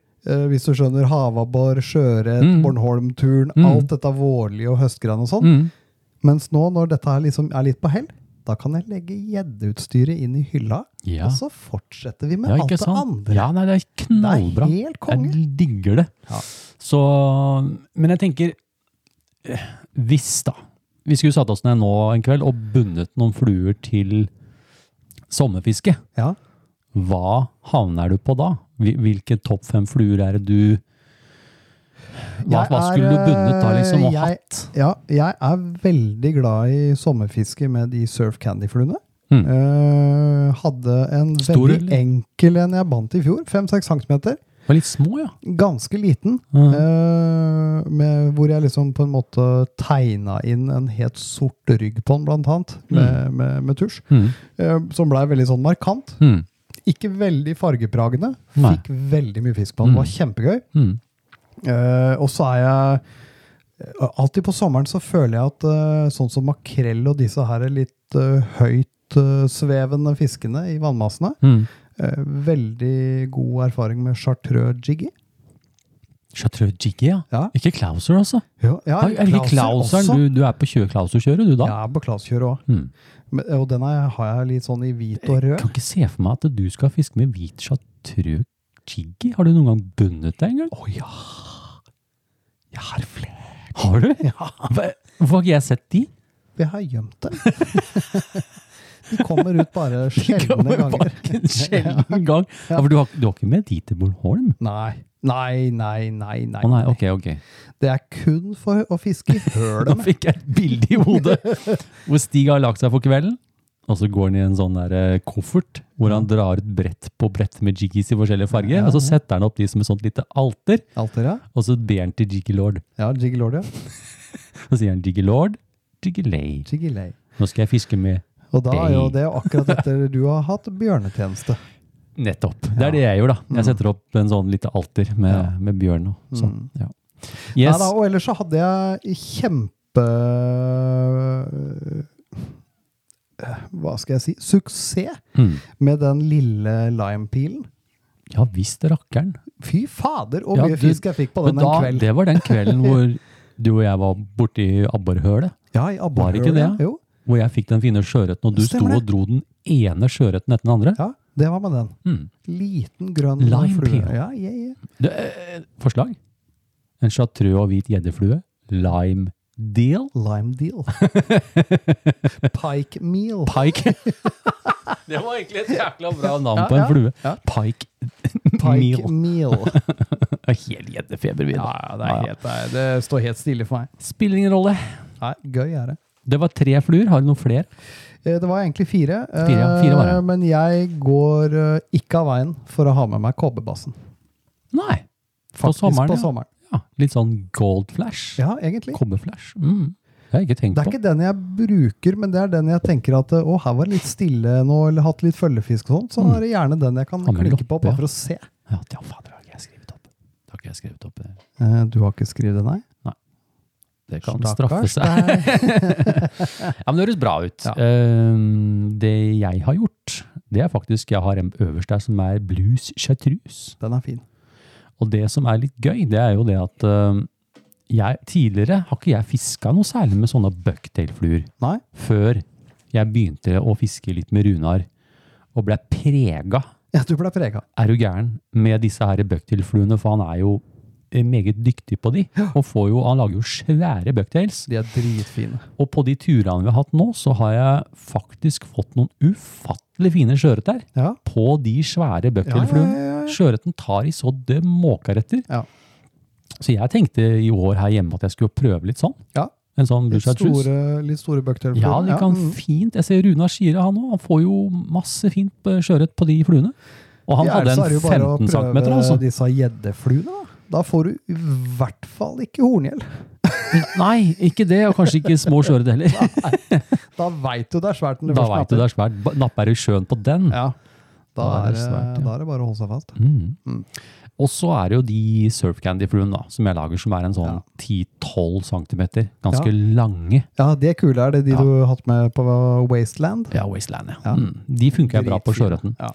hvis du skjønner, havabbor, sjøørret,
Mm.
Bornholm-turen,
Mm.
alt dette vårlige og høstgreiene og sånn.
Mm.
Mens nå, når dette her liksom er litt på hell, da kan jeg legge gjeddeutstyret inn i hylla,
Ja.
og så fortsetter vi med
Ja,
alt
ikke
det
sant?
andre.
Ja, nei, det er
det
knallbra.
er helt konge.
Jeg digger det.
Ja.
Så, men jeg tenker, eh, hvis da, vi skulle satt oss ned nå en kveld og bundet noen fluer til sommerfiske,
Ja.
hva havner du på da? Hvil- Hvilke topp fem fluer er det du... Hva, hva
Jeg er, eh,
skulle du bundet da, liksom, og
jeg-
hatt?
Ja, jeg er veldig glad i sommerfiske med de surf candy-fluene.
Mm.
Eh, hadde en
Stor,
veldig
eller?
enkel en jeg bandt i fjor. 5-6 cm.
Det var litt små, ja.
Ganske liten.
Mhm.
eh, med, hvor jeg liksom på en måte tegna inn en helt sort rygg på den, blant annet,
Hmm.
med, med, med tusj.
Mm.
eh, som blei veldig sånn markant.
Mm.
Ikke veldig fargepragende.
Nei.
Fikk veldig mye fisk på den. Det var kjempegøy.
Mm.
Eh, og så er jeg eh, Alltid på sommeren så føler jeg at eh, sånn som makrell og disse her er litt eh, høyt eh, svevende fiskene i vannmassene
Mm.
eh, Veldig god erfaring med chartreux jiggy.
Chartreux Jiggy, ja.
Ja.
Ikke Klauser, altså.
Jo, ja,
Er, er ikke Klauser du, du er på kjø- Klauser-kjøret, du da?
Ja, på Klauskjøret òg.
Hmm.
eh, Og den er- har jeg litt sånn i hvit og rød.
Kan ikke se for meg at du skal fiske med hvit chartreux jiggy. Har du noen gang bundet deg engang? Å ja. Jeg har flere. Har du? Ja. Hvorfor har ikke jeg sett de?
Vi har gjemt dem. De kommer ut bare sjeldne
Kommer
ganger.
bak en sjelden gang. Ja, for du har, du har ikke med de til Bornholm?
Nei. Nei, nei, nei, nei.
Å nei, ok, ok.
Det er kun for å fiske i hølet
Da
med.
fikk jeg et bilde i hodet hvor Stig har lagt seg for kvelden. Og så går han i en sånn der eh, koffert hvor han drar et brett på brett med jiggis i forskjellige farger. Og så setter han opp de som et sånt lite alter,
Altera?
og så ber han til Jiggy Lord.
Ja, Jiggy Lord, ja.
Så sier han Jiggy Lord, Jiggy Lay.
Jiggy Lay.
Nå skal jeg fiske med
Og da er jo
Day.
det akkurat etter du har hatt bjørnetjeneste.
Nettopp. Det er det jeg gjør, da. Jeg setter opp en sånn lite alter med, med bjørn og sånn. Ja. Yes.
Neida, og ellers så hadde jeg kjempe øh, Hva skal jeg si? Suksess
Mm.
med den lille limepilen.
Ja visst, rakkeren.
Fy fader, og
Ja,
mye
du-
fisk jeg fikk på
Men
den en
da,
kveld.
det var den kvelden hvor du og jeg var borti abborhølet.
Ja, i
Var det ikke det?
abborrehølet. Jo,
Hvor jeg fikk den fine sjøørreten, og du sto
Stemmer det.
og dro den ene sjøørreten etter den andre.
ja, det var med den.
Mm.
Liten grønn
Limepil.
flue. Ja, ja, ja.
Det, eh, forslag? En chartreux og hvit gjeddeflue. Lime deal.
Lime deal. Pike meal.
Pike. det var egentlig et jækla bra navn på
Ja,
en flue.
ja.
Pike.
Pike
Meal.
meal.
Helt gjeddefeber, vi. da.
det,
Ja, ja.
står helt stille for meg.
Spiller ingen rolle.
Nei, gøy er det.
Det var tre fluer. Har du noen flere?
Eh, Det var egentlig fire, eh,
Fire, ja. Fire var det.
men jeg går eh, ikke av veien for å ha med meg kobberbassen.
Nei. På
Faktisk
sommeren,
på
ja.
sommeren.
ja. Litt sånn gold flash.
Ja, egentlig.
Kobberflash. Mm. Det har jeg ikke tenkt
Det
på.
er ikke den jeg bruker, men det er den jeg tenker at eh, å, her var det litt stille nå, eller hatt litt følgefisk og sånt, så er det gjerne den jeg kan
Hammer
klikke på
loppe, Mm. ja.
bare for å se.
Ja, det- ja, faen, det har ikke jeg skrevet opp. Det har ikke jeg skrevet opp. Det-
Eh, Du har ikke skrevet det, nei?
Det kan straffe
Stakkars
seg.
deg.
Ja, men det høres bra ut.
Ja.
Ehm, det jeg har gjort, det er faktisk Jeg har en øverst der som er blues chartreuse.
Den er fin.
Og det som er litt gøy, det er jo det at ehm, jeg, tidligere har ikke jeg fiska noe særlig med sånne bucktailfluer.
Nei?
før jeg begynte å fiske litt med Runar, og ble prega,
Ja, du ble prega.
er du gæren, med disse her bucktail-fluene, for han er jo eh, meget dyktig på de, og får jo, han lager jo svære bucktails.
De er dritfine.
Og på de turene vi har hatt nå, så har jeg faktisk fått noen ufattelig fine sjøørreter
Ja.
på de svære bucktail-fluene.
Ja, ja, ja, ja.
Sjøørreten tar i så det måker etter.
Ja.
Så jeg tenkte i år her hjemme at jeg skulle prøve litt sånn.
Ja.
En sånn
Litt
Bouchard Truce.
store, litt store bøkter. mm.
Ja, de kan fint. Jeg ser Runar Skire, han òg. Han får jo masse fint eh, sjøørret på de fluene. Og han hadde en 15 cm, altså.
disse gjeddefluene, da. Da får du i hvert fall ikke horngjell.
Nei, ikke det, og kanskje ikke små sjøørret heller.
Da veit du det er svært. når
Da
først
veit du det er svært. Ba- Napper du sjøen på den?
napper. Ja. Da,
Da er
er,
det
det-
svært, ja.
da er det bare å holde seg fast.
Mm. Og så er det jo de surfcandy-fluene da, som jeg lager, som er en sånn 10-12 cm. Ganske lange.
Ja, de er kule, er det de
Ja.
du har hatt med på Wasteland?
Ja, Wasteland, ja.
Ja.
Mm. De funker jeg bra på
Dritfine.
sjøørreten.
Ja.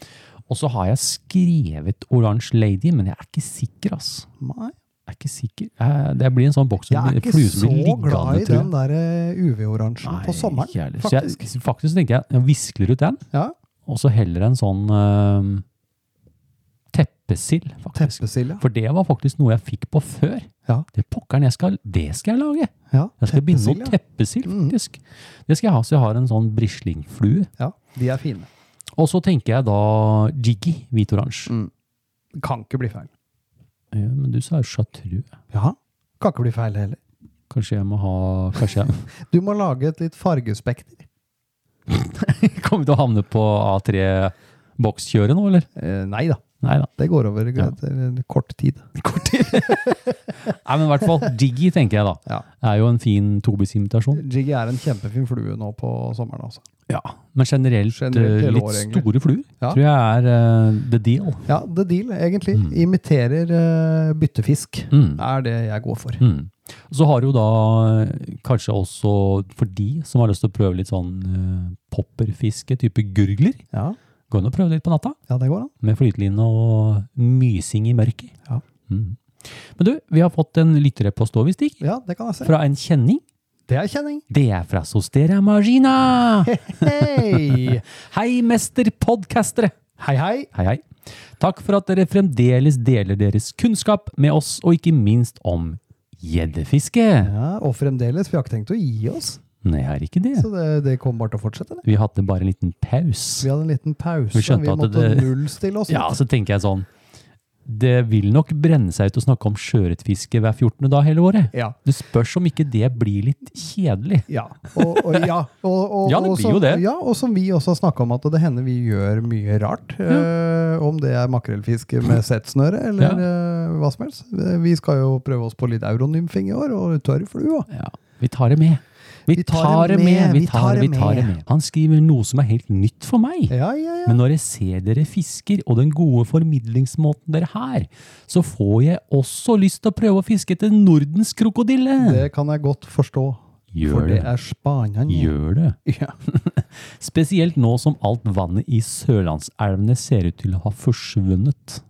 Og så har jeg skrevet Orange Lady, men jeg er ikke sikker, ass.
Nei,
Jeg er ikke sikker. Eh, Det blir en sånn boks
jeg
som
er
blir-
ikke
flue som
så
blir liggende,
glad i
tror jeg.
den der eh, UV-oransjen på
Nei,
sommeren,
ikke heller. Så jeg-
faktisk.
faktisk så tenker jeg, jeg viskler ut den,
Ja,
og så heller en sånn øhm, teppesild, faktisk.
Teppesilda.
For det var faktisk noe jeg fikk på før.
Ja.
Det pokkeren jeg skal, det skal jeg lage.
Ja, Mhm.
Jeg skal binde
teppesild,
opp teppesild, faktisk. Det skal jeg ha, så jeg har en sånn brislingflue.
ja. ja, de er fine.
Og så tenker jeg da Jiggy, hvit-oransje.
Mm. Kan ikke bli feil.
Ja, men du sa jo chartreux.
Ja, kan ikke bli feil heller.
Kanskje jeg må ha Kanskje jeg
Du må lage et litt fargespekter.
kommer til å havne på A3-bokskjøret nå, eller?
Eh, nei da,
Nei da.
det går over
Ja.
etter en kort tid.
Nei, men i hvert fall Jiggy, tenker jeg da.
Ja.
Er jo en fin tobisimitasjon.
Jiggy er en kjempefin flue nå på sommeren. Altså.
Ja. Men generelt,
Generelt
eh,
hele
litt
året, egentlig.
store fluer
Ja.
tror jeg er eh, the deal.
Ja, the deal, egentlig. Imiterer eh, byttefisk.
Mm.
er det jeg går for.
Mm. Så har jo da eh, kanskje også for de som har lyst til å prøve litt sånn eh, popperfiske, type gurgler,
Ja,
gå inn og prøve litt på natta
ja det går an.
med flyteline og mysing i mørket.
Ja.
Mm. Men du, vi har fått en lytterepost over, Stig.
Ja, det kan jeg se.
Fra en kjenning.
Det er kjenning.
Det er fra Sosteria Margina!
Hei!
Hei, mesterpodcastere!
Hei, hei.
Hei, hei. Takk for at dere fremdeles deler deres kunnskap med oss, og ikke minst om gjeddefiske.
Ja, og fremdeles, vi har ikke tenkt å gi oss.
Nei, jeg er ikke det.
Så det, det kommer bare til å fortsette. Det.
Vi hadde bare en liten paus.
Vi hadde en liten pause.
Vi skjønte at
måtte
det-
nullstille oss.
Ja, så tenker jeg sånn Det vil nok brenne seg ut å snakke om sjøørretfiske hver 14. dag hele året.
Ja.
Det spørs om ikke det blir litt kjedelig.
Ja. Og, og, ja, og, og,
Ja, det
og
blir
som-
jo det.
Ja, og som vi også har snakka om, at det hender vi gjør mye rart. Eh, om det er makrellfiske med settsnøre eller eh, hva som helst. Eh, Vi skal jo prøve oss på litt euronymfing i år, og tørrflue.
Ja, vi tar det med. Vi tar det med, vi tar det vi tar det med. Han skriver noe som er helt nytt for meg.
Ja, ja, ja.
Men når jeg ser dere fisker, og den gode formidlingsmåten dere har, så får jeg også lyst til å prøve å fiske etter Nordens krokodille.
Det kan jeg godt forstå. For
Gjør det.
det er Spania.
Gjør det.
Ja.
Spesielt nå som alt vannet i sørlandselvene ser ut til å ha forsvunnet.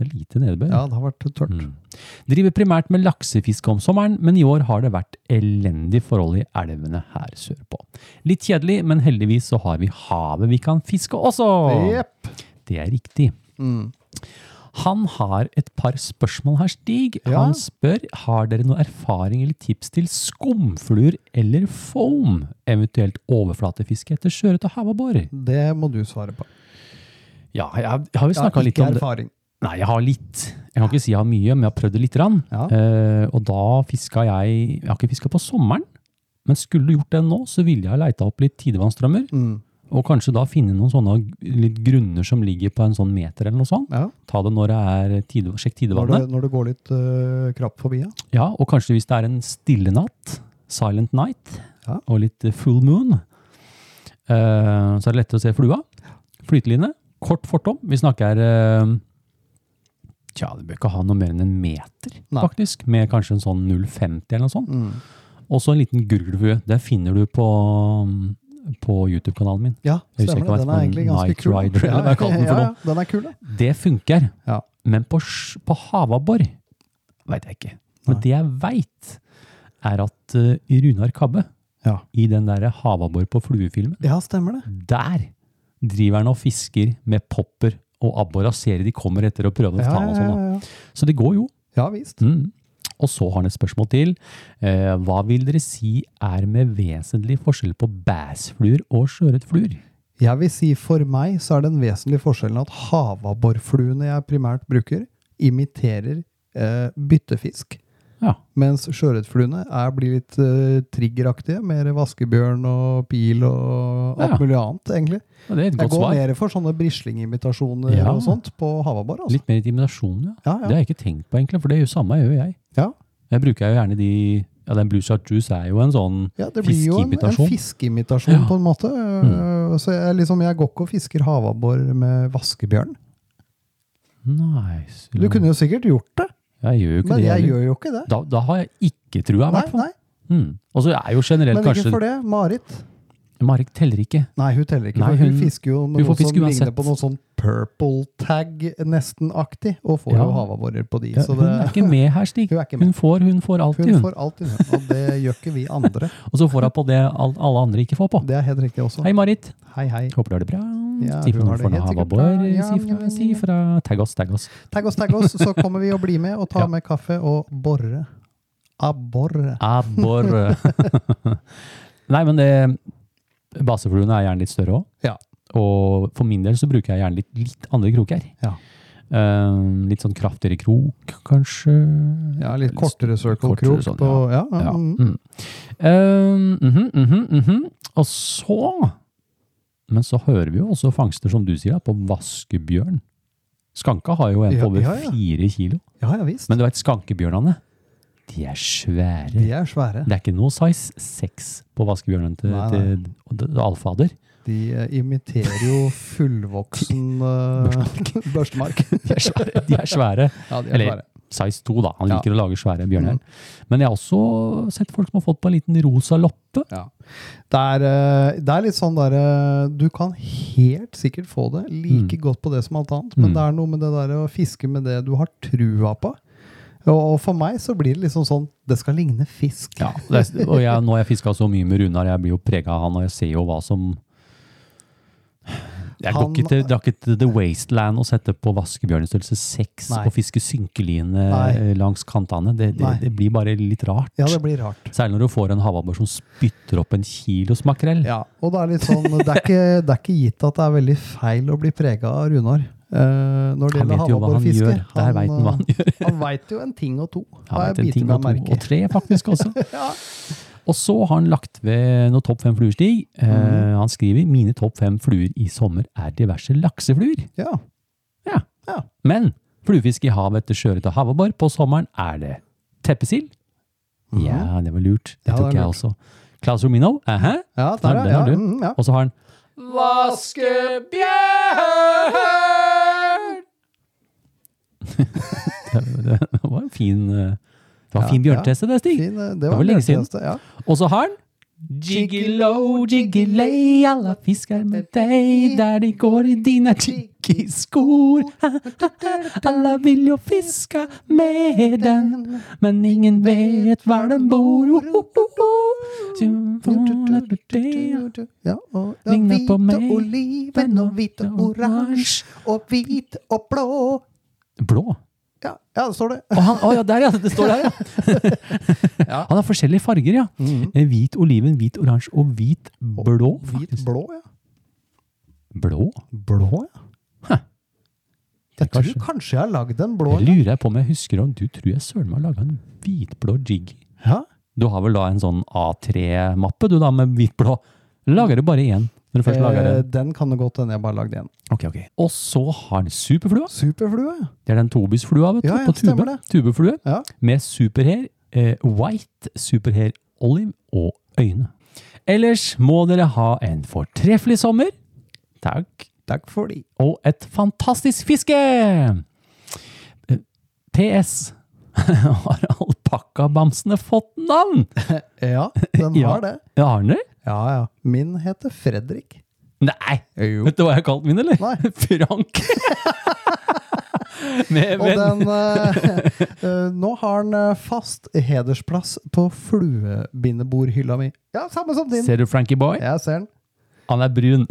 Det er lite nedbør.
ja, det har vært tørt.
Mm. Driver primært med laksefiske om sommeren, men i år har det vært elendige forhold i elvene her sørpå. Litt kjedelig, men heldigvis så har vi havet vi kan fiske også!
Jepp. Mm.
Det er riktig. Han har et par spørsmål her, Stig.
Ja.
Han spør har dere noe erfaring eller tips til skumfluer eller foam, eventuelt overflatefiske etter sjøørret og havabbor?
Det må du svare på.
Ja, jeg, jeg har jo
Jeg har
snakka litt
ikke
om det.
erfaring.
Nei, jeg har litt. Jeg kan ikke si jeg har mye, men jeg har prøvd det lite grann.
Ja.
Eh, og da fiska jeg Jeg har ikke fiska på sommeren, men skulle du gjort det nå, så ville jeg leita opp litt tidevannsstrømmer.
Mm.
Og kanskje da finne noen sånne g- litt grunner som ligger på en sånn meter eller noe sånt.
Ja.
Ta det når det er tide, Sjekk
Når,
tidevannet.
du, når du går litt øh, krapt forbi, ja.
Ja, og kanskje hvis det er en stille natt, silent night,
Ja.
og litt eh, full moon, eh, så er det lettere å se flua. Flyteline, kort fortom. Vi snakker eh, Tja, du bør ikke ha noe mer enn en meter,
Nei.
faktisk. Med kanskje en sånn 0,50 eller noe sånt.
Mm.
Og så en liten gurgelflue. Den finner du på, mm, på YouTube-kanalen min.
Ja,
Jeg husker ikke hva
stemmer det. Den er
den-
egentlig ganske
Knight
kul.
Rider,
Ja,
eller hva jeg kaller den for
ja,
noe.
ja, Den er kul, da.
Det funker.
Ja.
Men på, sj- på havabbor veit jeg ikke. Men det jeg veit, er at eh, Runar Kabbe,
Ja.
i den der havabbor på fluefilmen,
ja, stemmer det.
der driver han og fisker med popper og abbor og ser de kommer etter og prøver å
Ja,
ta han og
ja,
sånn.
ja,
da.
ja.
Så det går jo.
ja visst.
Mm. Og så har han et spørsmål til. Eh, hva vil dere si er med vesentlig forskjell på bassfluer og sjøørretfluer?
Jeg vil si for meg så er den vesentlige forskjellen at havabborfluene jeg primært bruker, imiterer eh, byttefisk.
Ja.
Mens sjøørretfluene er- blir litt eh, triggeraktige. Mer vaskebjørn og pil og alt
Ja.
mulig annet, egentlig.
ja, Det er et
Jeg
godt
går
svar.
mer for sånne brislingimitasjoner
Ja.
og sånt på havabbor. Altså.
Litt mer intimidasjon, ja.
Ja,
Det
ja.
har jeg ikke tenkt på, egentlig, for det er jo samme gjør jeg.
Ja.
Jeg bruker jo gjerne de Ja, den Blue Shot Juice er jo en sånn
Ja, det blir jo en, en
Fiskeimitasjon.
fiskeimitasjon
Ja. Mm.
på en måte. Eh, Så jeg, liksom, jeg går ikke og fisker havabbor med vaskebjørn.
Nice.
Du kunne jo sikkert gjort det,
Jeg gjør jo ikke
men
det.
jeg
heller.
gjør jo ikke det.
Da, da har jeg ikke trua, i
Nei,
hvert fall.
nei,
Mm. Og så er jo generelt
men ikke
kanskje
for det. Marit
Marit teller ikke.
Nei, hun teller ikke.
Nei,
for hun,
hun-
fisker jo
hun får
med noe som
fiske uansett.
ligner på noe sånn purple tag, nesten-aktig, og får
Ja.
jo havabborer på de.
Ja,
så
hun
det,
er ikke med her, Stig.
Hun er ikke med.
Hun får, hun får alltid,
hun
hun.
får alltid hun, og det gjør ikke vi andre.
Og så får hun på det all- alle andre ikke får på.
Det er helt riktig også.
Hei, Marit.
Hei, hei.
Håper du har det bra.
Ja,
si
hun
fra når
har
du får noe
det helt sikkert
havabbor.
bra. Ja,
Si
ja, ja,
fra, si fra. Tagg oss, tagg oss.
Tagg oss, tagg oss, så kommer vi og blir med og tar
Ja.
med kaffe og borre. Abborre.
Abbor. Nei, men det Basefluene er gjerne litt større òg.
Ja.
Og for min del så bruker jeg gjerne litt, litt andre kroker.
Ja.
Eh, litt sånn kraftigere krok, kanskje.
Ja, litt kortere circle-krok.
kortere sånn,
på- ja. Ja,
Ja.
mm.
Mm. Eh, mhm, mhm, mhm. Og så Men så hører vi jo også fangster, som du sier, da, på vaskebjørn. Skanka har jo en
Ja,
på over
ja, ja.
fire kilo.
ja, ja visst.
Men du veit, skankebjørnene, de er svære.
De er svære.
Det er ikke noe size 6 på vaskebjørnen til,
Nei, nei.
til, og det- det er alfader.
De eh, imiterer jo fullvoksen eh, børstemark.
De er svære. De er svære.
Ja, de er
Eller
svære.
size 2, da. Han
Ja. Mm.
liker å lage svære bjørner. Men jeg har også sett folk som har fått på en liten rosa loppe.
Ja. Det, er, eh, det er litt sånn derre Du kan helt sikkert få det like godt på det som alt annet, men
Mm.
det er noe med det der å fiske med det du har trua på. Og for meg så blir det liksom sånn Det skal ligne fisk.
Ja, det, er- og jeg, nå har jeg fiska så mye med Runar, jeg blir jo prega av han, og jeg ser jo hva som Jeg går
Han-
ikke til, drar ikke til The Wasteland og setter på vaskebjørn i størrelse seks
Nei.
og fisker synkeline
Nei.
eh, langs kantene. Det, det,
Nei.
det blir bare litt rart.
Ja, det blir rart.
Særlig når du får en havabbor som spytter opp en kilos makrell.
Ja, og det er litt sånn Det er ikke, det er ikke gitt at det er veldig feil å bli prega av Runar. eh, når det
Han
gjelder
vet jo hva han
havabborfiske.
gjør. Der vet han hva han gjør.
eh, Han veit jo en ting og to.
Han
har
vet
jeg
en
bitt
ting
meg
og to,
merke i.
og tre faktisk også. Og så har han lagt ved noen topp fem fluestig. Eh,
Mm.
han skriver 'Mine topp fem fluer i sommer er diverse laksefluer'.
Ja.
Ja.
Ja.
Men fluefiske i havet etter sjøørret og havabbor på sommeren er det teppesild. Ja, det var lurt. Det
Mm. Ja, det
tok
er
jeg
lurt.
også. Klaus Romino. Aha.
ja,
Den- den
der, ja.
har
ja,
du.
mm, ja.
Og så har han Vaskebjørn! det var en fin, eh, det var en fin
Ja, ja.
bjørnteste, det, Stig.
Fin, eh, det
var
var
lenge siden.
bjørntjeneste, Ja.
Og så har han Jiggelo, jiggilei, alle fisker med deg der de går i dine jiggiskor. Alle vil jo fiske med den, men ingen vet hvor den bor.
Ja, og ja,
Ligner på
hvite
meg.
oliven og hvite
Den
og oransje og hvit og blå.
Blå.
Ja, ja, det står det.
Å, han, å ja, der ja, det står der, ja. Han har forskjellige farger, ja. Eh, Hvit oliven, hvit oransje og hvit blå.
Hvit
faktisk.
blå, ja.
Blå?
Blå, ja. Jeg tror
Kanskje.
kanskje jeg har lagd en blå.
Jeg lurer jeg på om jeg husker om du tror jeg søren meg har laga en hvitblå jig.
Ja.
Du har vel da en sånn A3-mappe du da, med hvitblå? Eller Lager du bare én når du først lager
Eh,
den?
den kan det godt hende jeg bare lagde en.
Ok, ok. Og så har den superflua.
Superflue, ja.
Det er den Tobis-flua, vet du.
Ja, ja,
på
stemmer
tube.
det.
Tubeflue.
Ja.
Med superhair, eh, white, superhair, olive og øyne. Ellers må dere ha en fortreffelig sommer. Takk.
Takk for de.
og et fantastisk fiske! Eh, PS. Har alpakkabamsene fått navn?
Ja, den
Ja.
har det.
Arne?
Ja, ja. Min heter Fredrik.
Nei!
Jo.
Vet du hva jeg har kalt min, eller?
Nei.
Frank. Med
Og
venn.
den eh, eh, Nå har den eh, fast hedersplass på fluebindebordhylla mi. Ja, samme som din.
Ser du Frankie Boy?
Jeg ser den.
Han er brun.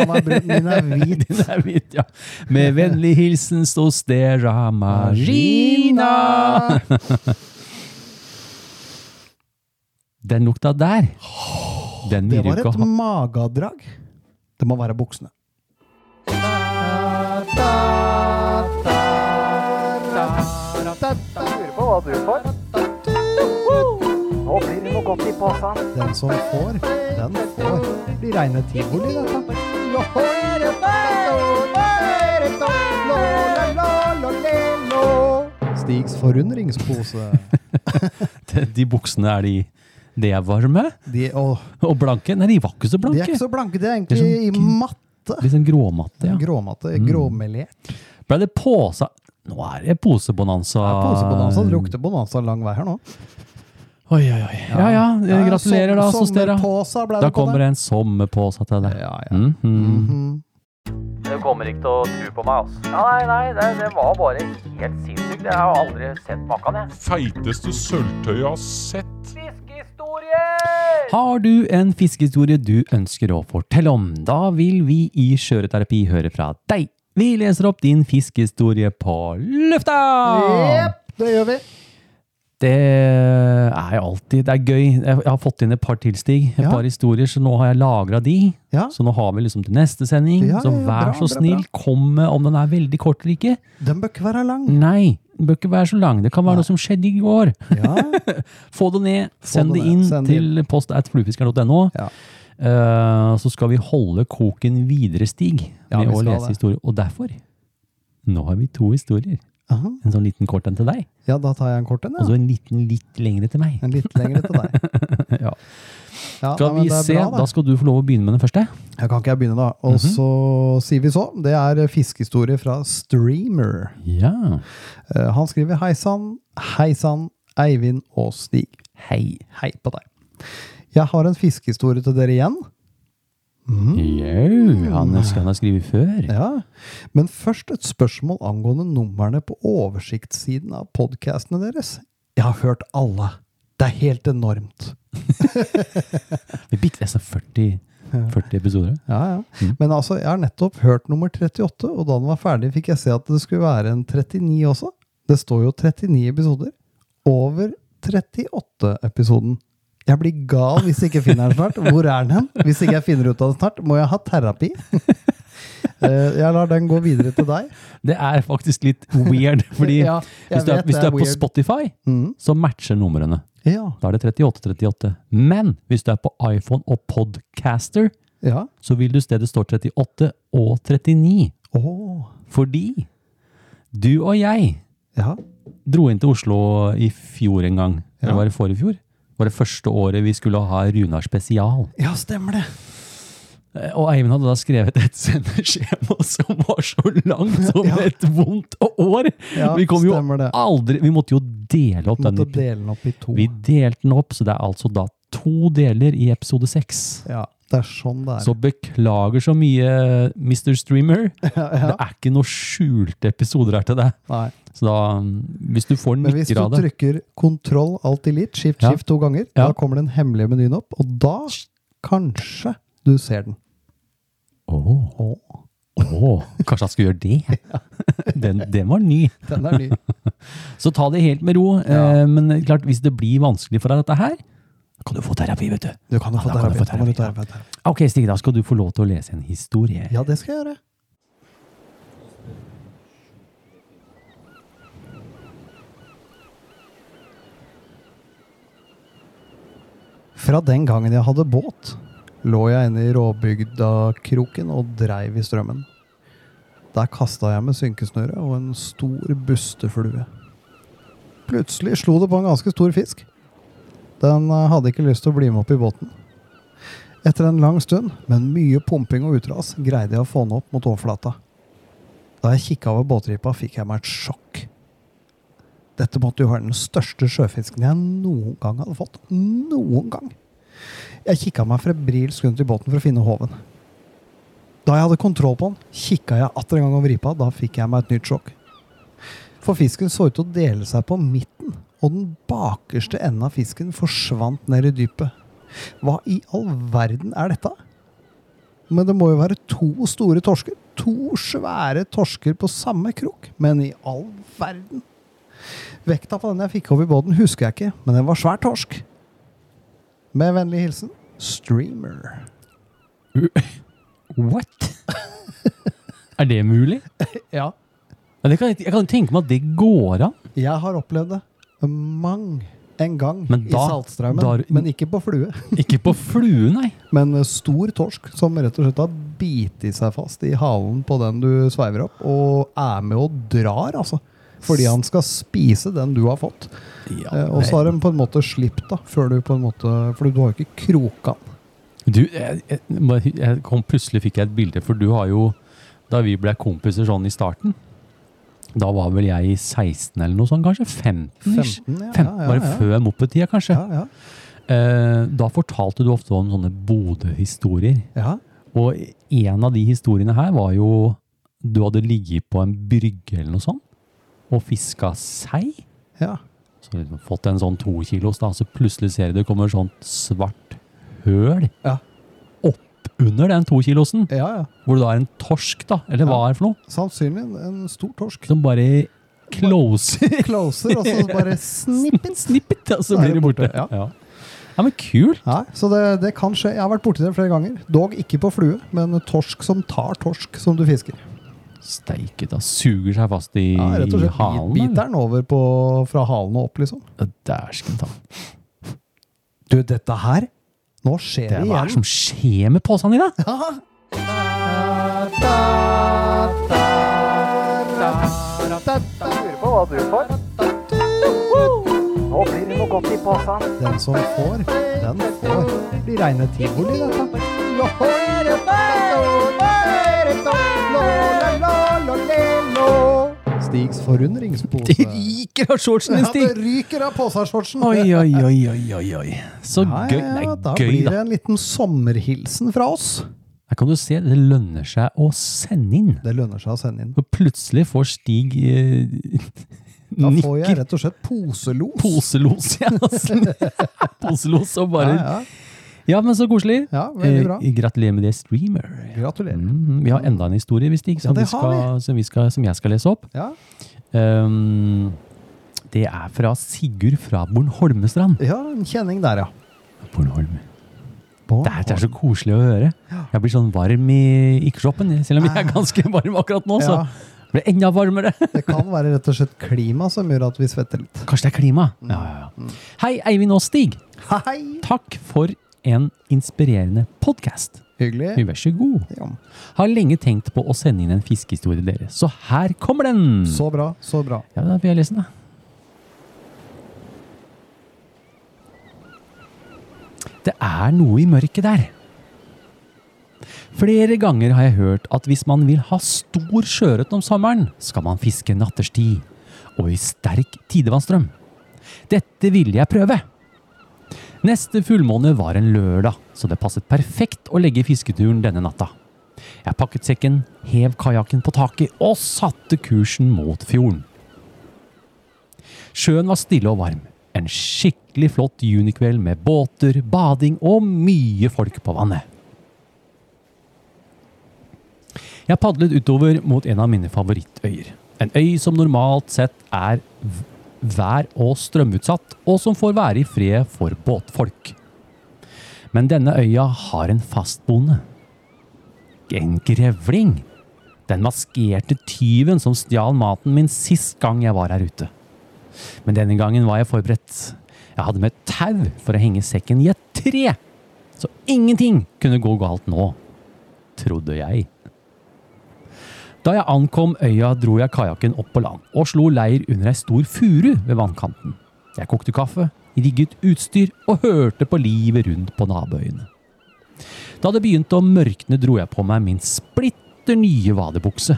Han er brun, min er hvit.
Den er hvit, ja. Med vennlig hilsen Stostera Marina. Den lukta der. Den
Det
vil du
var
ikke
et
ha.
magedrag. Det må være buksene.
Lurer på hva du får.
Nå blir det noe godt i posen.
Den som får, den får. Det blir reine tivoli, dette. Lo, ere, bato, ere, to, lo, la, la, lo, le, lo. Stigs forundringspose.
De- De buksene, er de, de er varme?
De, åh,
Og blanke? Nei, de var ikke så
de er
blanke.
ikke så blanke, de er
Det er
egentlig i matte.
Litt sånn gråmatte, ja. Mm.
Gråmatte, gråmelert.
Ble det posa? Nå er det posebonanza.
Ja, Posebonanza drukte bonanza lang vei her nå.
Oi, oi, oi. Ja, ja. eh, Gratulerer, da, Sostera.
Sånn Sommerposa ble
Da
det på
kommer
det.
det en sommerpose til deg.
Ja, ja.
Mhm.
Mhm.
Du kommer ikke til å tro på meg, altså. Ja, nei, nei, det, det var bare helt sinnssykt. Jeg har aldri sett maken, jeg.
Feiteste sølvtøyet jeg har sett.
Fiskehistorier!
Har du en fiskehistorie du ønsker å fortelle om? Da vil vi i Skjøreterapi høre fra deg. Vi leser opp din fiskehistorie på lufta!
Jepp, det gjør vi.
Det er jo alltid Det er gøy. Jeg har fått inn et par til, Stig. Et
Ja.
par historier, så nå har jeg lagra de.
Ja.
Så nå har vi liksom til neste sending.
Ja,
så
ja, ja,
vær
bra,
så
bra,
snill, kom med om den er veldig kort eller ikke.
Den bør ikke være
Mm.
lang.
Nei, den bør ikke være så lang. Det kan være noe som skjedde i går.
Ja,
Få det ned. Send
det
det
ned.
inn
Send det
til post at fluefiskeren.no.
Ja.
Eh, så skal vi holde koken videre, Stig,
Ja,
med
vi
å
skal
lese
det.
historier. Og derfor, nå har vi to historier.
Aha.
En sånn liten kort en til deg,
ja da tar jeg en kort en,
og
ja.
så en liten litt lengre til meg.
En litt lengre til deg.
Ja.
Ja,
Skal
nei, men
vi
det er
se,
bra, da.
da skal du få lov å begynne med den første.
Jeg kan ikke jeg begynne, da. Og så sier vi så. Det er fiskehistorie fra Streamer.
Ja.
Eh, Han skriver hei sann, hei sann, Eivind og Stig.
Hei.
Hei på deg. Jeg har en fiskehistorie til dere igjen.
Jau, han er- skal han ha skrevet før.
Mm. Ja. Men først et spørsmål angående numrene på oversiktssiden av podkastene deres. Jeg har hørt alle. Det er helt enormt.
Vi bikket nesten 40, 40 episoder.
Ja, ja.
Mm.
Men altså, jeg har nettopp hørt nummer 38, og da den var ferdig, fikk jeg se at det skulle være en 39 også. Det står jo 39 episoder. Over 38-episoden. Jeg blir gal hvis jeg ikke finner den snart. Hvor er den hen? Hvis ikke jeg finner ut av den snart, må jeg ha terapi. Eh, Jeg lar den gå videre til deg.
Det er faktisk litt weird, fordi
Ja, jeg
hvis du er,
vet
hvis
det
du
er
er på
weird. Mm.
Spotify, så matcher numrene.
Ja.
Da er det 38-38. Men hvis du er på iPhone og Podcaster,
ja.
så vil du i stedet stå 38 og 39.
Åh.
Fordi du og jeg
Ja.
dro inn til Oslo i fjor en gang.
Ja.
Det var i forrige fjor. Det var det første året vi skulle ha Runar spesial.
ja, stemmer det.
Eh, Og Eivind hadde da skrevet et sendeskjema som var så langt som
Ja.
et vondt år!
Ja,
vi kom jo
stemmer det.
aldri Vi måtte jo dele opp den.
Måtte dele den opp i to.
Vi delte den opp, så det er altså da to deler i episode seks.
Ja, det er sånn det er.
Så beklager så mye, Mr. Streamer. Det er ikke noen skjulte episoder her til deg.
Nei.
Så da, um, hvis du får
Men hvis
nikker
du
av det
trykker kontroll alt delete, skift,
Ja.
skift to ganger,
Ja.
da kommer den hemmelige menyen opp, og da kanskje du ser den.
Åh,
Åh,
åh, kanskje han skulle gjøre det? Den, den var ny.
den er ny.
Så ta det helt med ro. Eh, men klart, hvis det blir vanskelig for deg, dette her, da kan du få terapi, vet du.
Du kan jo få
da kan du
terapi.
få
da kan du
terapi,
ta terapi.
Ok, Stig, da skal du få lov til å lese en historie.
Ja, det skal jeg gjøre. Fra den gangen jeg hadde båt, lå jeg inne i råbygdakroken og dreiv i strømmen. Der kasta jeg med synkesnøre og en stor busteflue. Plutselig slo det på en ganske stor fisk. Den eh, hadde ikke lyst til å bli med opp i båten. Etter en lang stund, med mye pumping og utras, greide jeg å få den opp mot overflata. Da jeg kikka over båtripa, fikk jeg meg et sjokk. Dette måtte jo være den største sjøfisken jeg noen gang hadde fått. Noen gang! Jeg kikka meg febrilsk rundt i båten for å finne håven. Da jeg hadde kontroll på den, kikka jeg atter en gang over ripa. Da fikk jeg meg et nytt sjokk. For fisken så ut til å dele seg på midten, og den bakerste enden av fisken forsvant ned i dypet. Hva i all verden er dette? Men det må jo være to store torsker. To svære torsker på samme krok. Men i all verden! Vekta på den jeg fikk over i båten, husker jeg ikke, men den var svær torsk. Med vennlig hilsen Streamer.
What? er det mulig?
Ja.
Ja, det kan, jeg jeg kan tenke meg at det går an.
Jeg har opplevd det mang en gang
Men
i
da-
Saltstraumen.
da har-
men ikke på flue.
Ikke på flue, nei.
Men eh, stor torsk som rett og slett har bitt seg fast i halen på den du sveiver opp, og er med og drar, altså. Fordi han skal spise den du har fått. Eh, og så har de på en måte slipt, da, før du på en måte For du har jo ikke kroka den.
Du, jeg, jeg, bare- jeg kom, plutselig fikk jeg et bilde, for du har jo Da vi ble kompiser sånn i starten, da var vel jeg i 16 eller noe sånt, kanskje? 15? ish.
15, ja,
15
ja,
var det
ja, ja.
før moppetida, kanskje?
Ja, ja.
Eh, da fortalte du ofte om sånne Bodø-historier.
ja.
Og en av de historiene her var jo Du hadde ligget på en brygge eller noe sånt og fiska sei.
ja.
Så hadde du fått en sånn to kilos, da, så plutselig ser du det kommer sånt svart høl
Ja.
opp under den to kilosen.
ja, ja.
Hvor det da er en torsk, da, eller hva
Ja.
er det for noe,
Sannsynlig en, en stor torsk.
som bare closer
Closer, og så bare snippet.
Snippet, og så
Da er
blir
det
det borte.
borte, ja.
Ja. ja, men kult!
Nei, så det, det kan skje. Jeg har vært borti det flere ganger. Dog ikke på flue, men torsk som tar torsk som du fisker.
Steike, da. Suger seg fast i,
Ja, rett og
i
slett
halen.
bit- biter
eller?
den over på, fra halen og opp, liksom.
Ja, Dæsken ta.
Du, dette her Nå skjer det,
Det er- Hva er det
igjen.
som skjer med posen din, da?
Jeg lurer på hva du får. Nå blir det noe godt i posen.
Den som får, den får. Blir reine tivoli, dette. Stigs forundringspose.
Det ryker av shortsen din,
altså. Ja, det
Stig!
ryker av posashortsen.
Oi, oi, oi, oi, oi, oi. Så
Ja,
gøy.
ja,
Nei,
ja, da
gøy,
blir det
da.
en liten sommerhilsen fra oss.
Der kan du se, det lønner seg å sende inn.
Det lønner seg å sende inn.
Og plutselig får Stig eh,
Da får jeg
nikker
rett og slett poselos.
poselos, ja. nesten. poselos og
Ja,
bare Ja,
ja.
men så koselig.
ja, veldig bra.
Eh, gratulerer med det, streamer.
Gratulerer.
Mm, vi har enda en historie, hvis ikke,
Ja,
som,
det
vi
har
skal, som, vi skal, som jeg skal lese opp.
Ja,
Um, det er fra Sigurd fra Bornholmestrand.
ja en kjenning der, ja.
Bornholm.
På-
Det er, det er så koselig å høre. Jeg blir sånn varm i ikke-shoppen, selv om jeg er ganske varm akkurat nå. Så
Ah. Ja.
blir det enda varmere.
Det kan være rett og slett klima som gjør at vi svetter litt.
Kanskje det er klima? Ja, ja, ja. Hei, Eivind og Stig.
Hei!
Takk for en inspirerende podkast.
Hyggelig.
Vær så god.
Ja.
Har lenge tenkt på å sende inn en fiskehistorie til dere, så her kommer den.
Så bra, så bra.
Ja, da får jeg lese den, da. Det er noe i mørket der. Flere ganger har jeg hørt at hvis man vil ha stor sjøørret om sommeren, skal man fiske natterstid og i sterk tidevannsstrøm. Dette ville jeg prøve. Neste fullmåne var en lørdag, så det passet perfekt å legge fisketuren denne natta. Jeg pakket sekken, hev kajakken på taket og satte kursen mot fjorden. Sjøen var stille og varm. En skikkelig flott junikveld med båter, bading og mye folk på vannet. Jeg padlet utover mot en av mine favorittøyer. En øy som normalt sett er v- vær- og strømutsatt, og som får være i fred for båtfolk. Men denne øya har en fastboende. En grevling. Den maskerte tyven som stjal maten min sist gang jeg var her ute. Men denne gangen var jeg forberedt. Jeg hadde med et tau for å henge sekken i et tre. Så ingenting kunne gå galt nå, trodde jeg. Da jeg ankom øya, dro jeg kajakken opp på land og slo leir under ei stor furu ved vannkanten. Jeg kokte kaffe, rigget utstyr og hørte på livet rundt på naboøyene. Da det begynte å mørkne, dro jeg på meg min splitter nye vadebukse.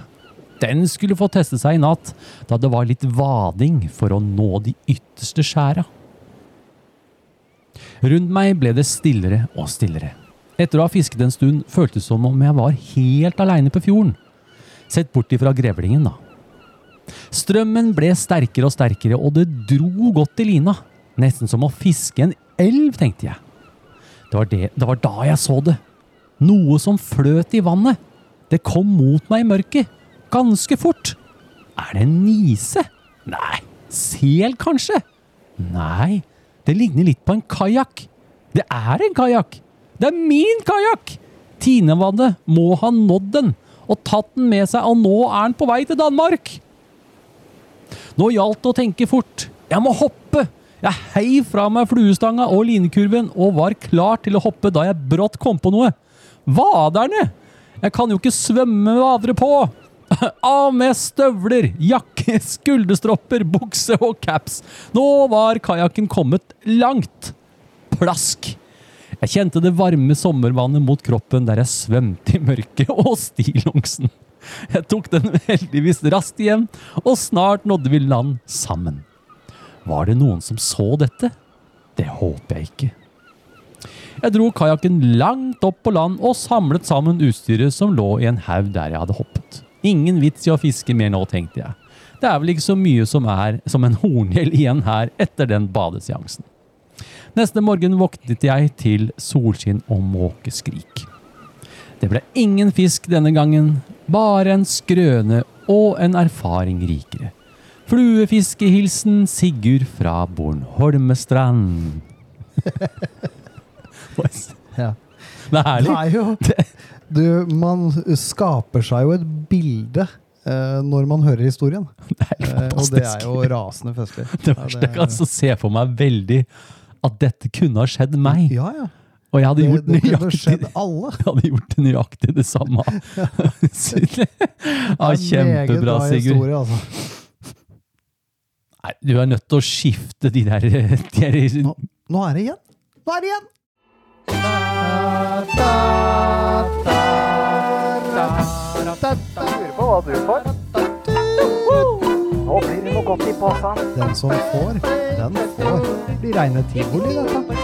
Den skulle få teste seg i natt, da det var litt vading for å nå de ytterste skjæra. Rundt meg ble det stillere og stillere. Etter å ha fisket en stund føltes det som om jeg var helt aleine på fjorden. Sett bort ifra grevlingen, da. Strømmen ble sterkere og sterkere, og det dro godt i lina. Nesten som å fiske en elv, tenkte jeg. Det var, det, det var da jeg så det. Noe som fløt i vannet. Det kom mot meg i mørket. Ganske fort. Er det en nise? Nei. Sel, kanskje? Nei. Det ligner litt på en kajakk. Det er en kajakk! Det er min kajakk! Tinevannet må ha nådd den og tatt den med seg, og nå er den på vei til Danmark! Nå gjaldt det å tenke fort. Jeg må hoppe! Jeg heiv fra meg fluestanga og linekurven og var klar til å hoppe da jeg brått kom på noe. Vaderne! Jeg kan jo ikke svømme med vadere på! Av med støvler, jakke, skulderstropper, bukse og caps. Nå var kajakken kommet langt. Plask! Jeg kjente det varme sommervannet mot kroppen der jeg svømte i mørket og stillongsen. Jeg tok den heldigvis raskt igjen, og snart nådde vi land sammen. Var det noen som så dette? Det håper jeg ikke. Jeg dro kajakken langt opp på land og samlet sammen utstyret som lå i en haug der jeg hadde hoppet. Ingen vits i å fiske mer nå, tenkte jeg. Det er vel ikke så mye som er som en horngjell igjen her etter den badeseansen. Neste morgen våknet jeg til solskinn og måkeskrik. Det ble ingen fisk denne gangen, bare en skrøne og en erfaring rikere. Fluefiskehilsen Sigurd fra Bornholmestrand. Det
Ja.
er
Det
herlig.
er jo du, Man skaper seg jo et bilde eh, når man hører historien.
Det er helt
Eh, og det er
fantastisk.
jo rasende festlig.
Det
Ja,
verste jeg kan altså se for meg veldig at dette kunne ha skjedd meg.
ja, ja.
Og jeg hadde
Det,
gjort
det kunne
nøyaktig
skjedd alle.
Jeg hadde gjort nøyaktig det samme. ja,
Meget
kjempebra,
bra
Sigurd.
historie, altså.
Nei, du er nødt til å skifte de der, eh, de der
Nå, nå er det igjen! Nå er det igjen!
Lurer på hva du får. Nå blir det noe godt i posen.
Den som får, den får. Det blir reine tivoli, dette.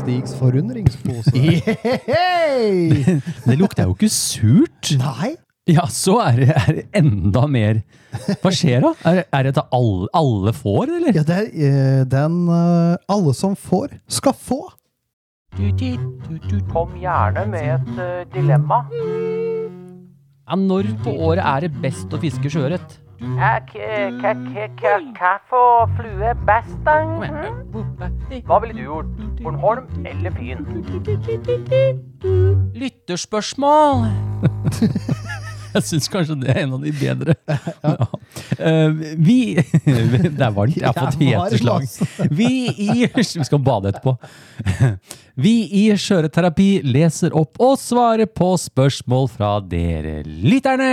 Stigs forundringspose. Hei!
Det lukter jo ikke surt.
Nei,
Ja, så er det, er det enda mer. Hva skjer da? Er, er det at alle, alle får, eller?
ja, det er eh, den eh, alle som får, skal få.
Kom gjerne med et eh, dilemma.
når på året er det best å fiske sjøørret?
Er k- k- k- k- Kaffe og flue best, da? Mhm. Hva ville du gjort? Bornholm eller Fyn?
Lytterspørsmål!
Jeg syns kanskje det er en av de bedre. Ja. Eh, vi Det er varmt. Jeg har fått
Jeg var
heteslag.
masse.
Vi i Vi skal bade etterpå. Vi i Skjøreterapi leser opp og svarer på spørsmål fra dere lytterne!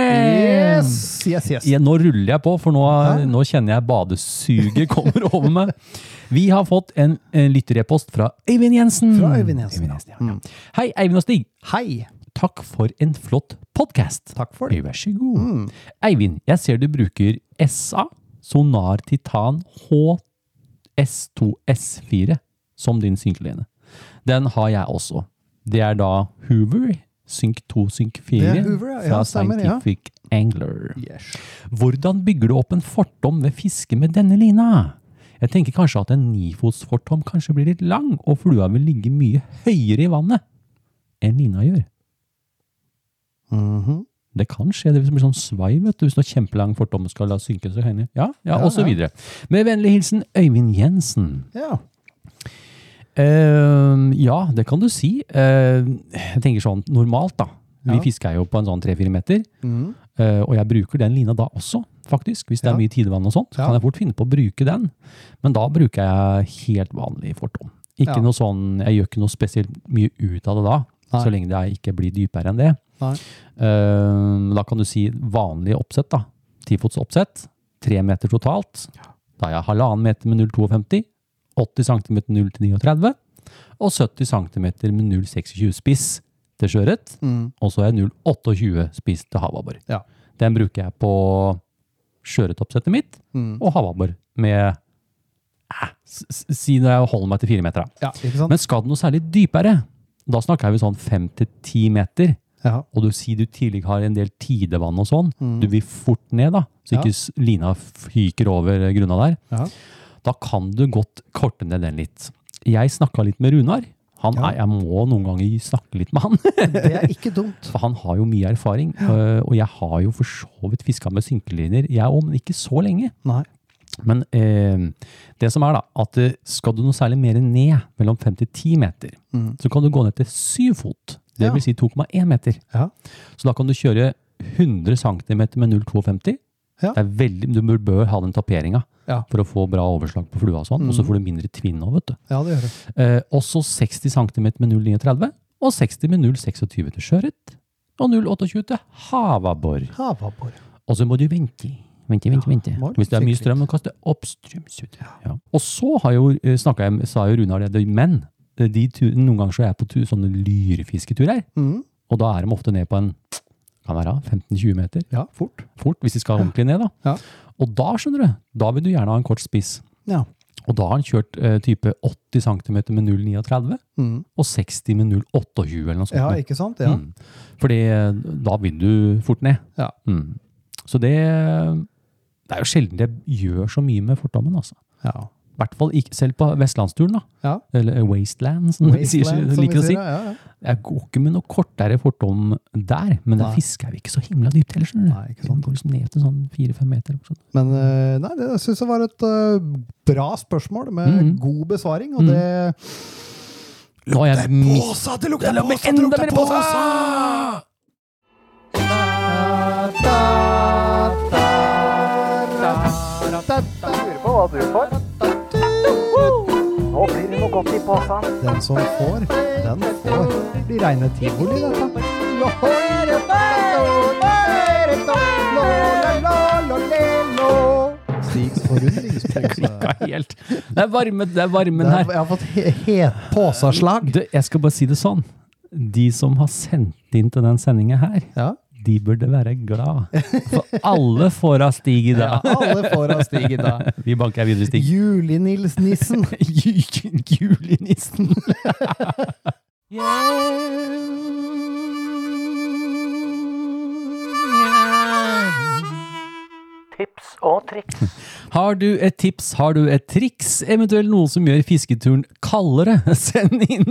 Yes, yes, yes.
Ja, nå ruller jeg på, for nå, nå kjenner jeg badesuget kommer over meg. Vi har fått en, en lytterepost fra Øyvind Jensen.
Fra Øyvind Jensen.
ja, ja. Hei, Øyvind og Stig.
Hei.
Takk for en flott podkast.
Takk for det. Mm.
Vær så god. Eivind, jeg ser du bruker SA, Sonar Titan HS2S4, som din synkelene. Den har jeg også. Det er da Hoover Synk 2 Synk 4
Det er Hoover, ja. Ja,
fra
stemmer, ja.
Scientific Angler. Hvordan bygger du opp en fortom ved fiske med denne lina? Jeg tenker kanskje at en nifotsfortom kanskje blir litt lang, og flua vil ligge mye høyere i vannet enn lina gjør.
Mhm.
Det kan skje, det blir sånn svai, vet du, hvis noe kjempelang fortom skal la synke så høyne. Ja, ja, og så videre. Med vennlig hilsen Øyvind Jensen.
Ja.
Eh, ja, det kan du si. Eh, jeg tenker sånn normalt, da. Vi
Ja. Mm.
fisker jo på en sånn tre-fire meter. Eh, og jeg bruker den lina da også, faktisk. Hvis det
Ja.
er mye tidevann og sånt, så
Ja.
kan jeg fort finne på å bruke den. Men da bruker jeg helt vanlig fortom. Ikke
Ja.
noe sånn, Jeg gjør ikke noe spesielt mye ut av det da,
Nei.
så lenge det er- ikke blir dypere enn det.
Nei.
Eh, da kan du si vanlig oppsett, da. Tifots oppsett. Tre meter totalt. Da har jeg halvannen meter med 0,52, 80 cm 0 til 39 og 70 cm med 0,26 spiss til sjøørret.
Mm.
Og så har jeg 0,28 spiss til havabbor.
Ja.
Den bruker jeg på sjøørretoppsettet mitt
Mm.
og havabbor med eh, s- s- Si når jeg holder meg til fire meter. da.
ja, ikke sant?
Men skal det noe særlig dypere, da snakker vi sånn fem til ti meter.
ja.
Og du sier du tidligere har en del tidevann og sånn. Du vil fort ned, da, så
Mm. Ja.
ikke s- lina fyker over eh, grunna der
Ja.
da kan du godt korte ned den litt. Jeg snakka litt med Runar. Han
Ja.
er, jeg må noen ganger snakke litt med han,
Det er ikke dumt.
for han har jo mye erfaring. øh, Og jeg har jo for så vidt fiska med synkeliner, jeg òg, men ikke så lenge.
Nei.
Men eh, det som er da, at eh, skal du noe særlig mer ned, mellom 5 til 10 meter, så kan du gå ned til 7 fot. Det
Mm. Ja.
vil si 2,1 meter.
Ja.
Så da kan du kjøre 100 cm med 0,52.
Ja.
Det er veldig, du bør, bør ha den taperinga
Ja. Mm.
for å få bra overslag på flua og sånn, og så får du mindre tvinn nå, vet du.
Ja, det gjør det.
Eh, også 60 cm med 0,39, og 60 med 0,26 til sjøørret, og 0,28 til havabbor.
Havabbor.
Og så må du vente. Vente, vente, vente.
må du
Hvis det er mye
fikse
strøm, må du kaste oppstrøms ut. Ja. Og så har jo, eh, snakket jeg, med- sa jo Runar det, det- men eh, de tu- noen ganger så er jeg på tu, sånne lyrfisketurer,
Mhm.
og da er de ofte ned på en, kan være 15-20 meter,
Ja, fort.
fort, hvis de skal ordentlig ned da.
Ja.
Og da, skjønner du, da vil du gjerne ha en kort spiss.
Ja.
Og da har han kjørt eh, type 80 cm med 0,39,
Mhm.
og 60 med 0,28 eller noe sånt.
Ja,
nå.
ikke sant? Ja.
Mm. Fordi eh, da vil du fort ned.
Ja.
Mm. Så det, det er jo sjelden det gjør så mye med fortommen. Altså.
Ja.
I hvert fall ikke, selv på vestlandsturen, da.
Ja.
eller wasteland, som vi sier,
Wasteland, som
liker
vi
å si.
sier, Ja, ja.
Jeg går ikke med noe kortere fortom der, men der
Nei.
fisker jeg jo ikke så himla dypt heller. skjønner du.
Nei, ikke sant.
Den går liksom ned til sånn fire-fem meter. Sånn.
Mm. Men eh, nei, det syns jeg var et eh, bra spørsmål med
Mhm.
god besvaring, og det
Nå har jeg mist
Påsa! Det lukter påsa!
Mhm. enda mer påse!
Lurer på hva du får. Nå blir det noe godt i posen.
Den som får, den får. Blir reine tivoli, dette. Stigs forundringspose.
Helt. Det er varme, det er varmen
Der-
her.
Jeg har fått he het påsaslag.
Du, jeg skal bare si det sånn. De som har sendt inn til den sendinga her,
Ja.
De burde være glad. For alle får av Stig i dag.
alle får av Stig i dag.
Vi banker videre, Stig.
Julenils-nissen.
Julenissen.
Tips og triks.
Har du et tips, har du et triks, eventuelt noe som gjør fisketuren kaldere? Send inn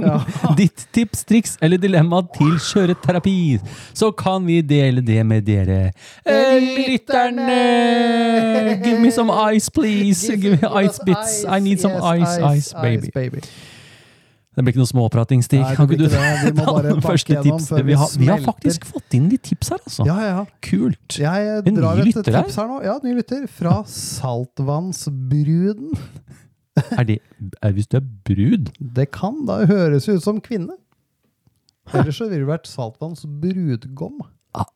ditt tips, triks eller dilemma til kjøreterapi, så kan vi dele det med dere eh, lytterne! Give me some ice, please! Give me ice bits. I need some ice, ice, baby. Det blir ikke noe småprating, Stig.
Nei, det
Kan
blir
ikke du
ikke det. Vi må
ta
bare
de
banke
første
gjennom før
tipsene?
vi
Vi har, vi har
smelter.
faktisk fått inn litt tips her, altså.
Ja, ja.
Kult.
Jeg
En ny
drar et
lytter her?
tips her nå. Ja, ny lytter. Fra Saltvannsbruden.
Er det, er, hvis du er brud
Det kan da høres ut som kvinne. Ellers så ville det vært Saltvanns brudgom.
Ja!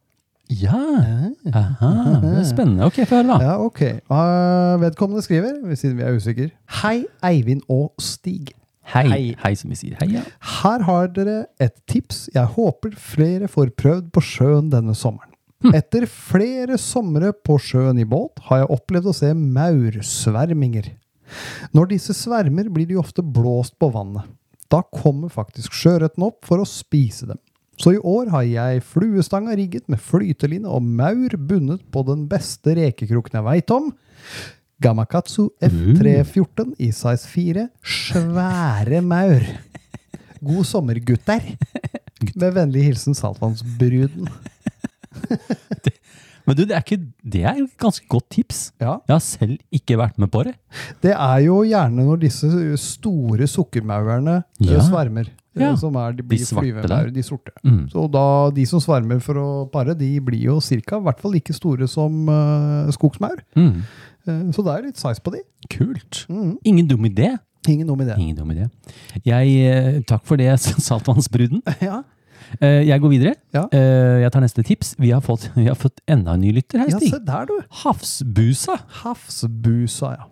Aha, det er spennende. Ok, få høre, da.
Ah. Ja, ok. Eh, vedkommende skriver, siden vi er usikre. Hei, Eivind og Stig.
Hei.
Hei.
Hei, som vi sier. Hei, ja.
Her har dere et tips jeg håper flere får prøvd på sjøen denne sommeren. Etter flere somre på sjøen i båt har jeg opplevd å se maursverminger. Når disse svermer, blir de ofte blåst på vannet. Da kommer faktisk sjøørreten opp for å spise dem. Så i år har jeg fluestanga rigget med flyteline og maur bundet på den beste rekekroken jeg veit om. Gamakatsu F314 i size 4. Svære maur. God sommer, gutter. Med vennlig hilsen Saltvannsbruden.
Men du, det er, ikke, det er jo et ganske godt tips.
Ja.
Jeg har selv ikke vært med på det.
Det er jo gjerne når disse store sukkermaurene eh,
Ja.
svermer. eh,
Ja.
Som er, de blir
svarte der.
flyvemaur, de sorte.
Mm.
Så da, de som svermer for å pare, de blir jo cirka, i hvert fall like store som eh, skogsmaur.
Mm.
Eh, så det er litt size på de.
Kult.
Mhm.
Ingen dum idé.
Ingen dum idé.
Ingen dum idé. Jeg, eh, takk for det, Saltvannsbruden.
Ja.
Eh, Jeg går videre.
Ja.
Eh, Jeg tar neste tips. Vi har fått, vi har fått enda en ny lytter her,
ja,
Stig.
se der, du.
Havsbusa.
Hafsbusa, ja.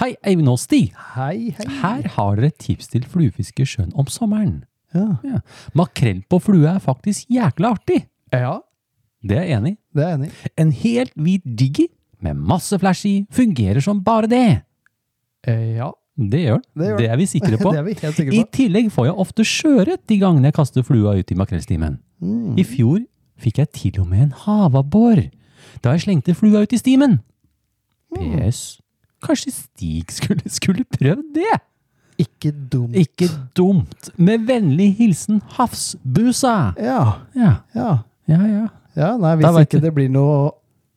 Hei, Eivind og Stig.
Hei, hei.
Her har dere et tips til fluefiske i sjøen om sommeren.
Ja.
Ja. Makrell på flue er faktisk jækla artig.
ja,
Det er jeg enig i.
det er jeg enig i.
En helt hvit diggy med masse flash i fungerer som bare det.
Eh, ja,
Det gjør den.
Det
Det,
gjør den.
er vi sikre på.
det er vi helt sikre
I
på.
tillegg får jeg ofte sjøørret de gangene jeg kaster flua ut i makrellstimen.
Mm.
I fjor fikk jeg til og med en havabbor da jeg slengte flua ut i stimen.
Mm.
PS. Kanskje Stig skulle, skulle prøvd det?
Ikke dumt.
Ikke dumt. Med vennlig hilsen Hafsbusa.
Ja,
Ja,
ja.
ja, ja.
Ja,
Da
nei, hvis
vet
ikke
du.
det blir noe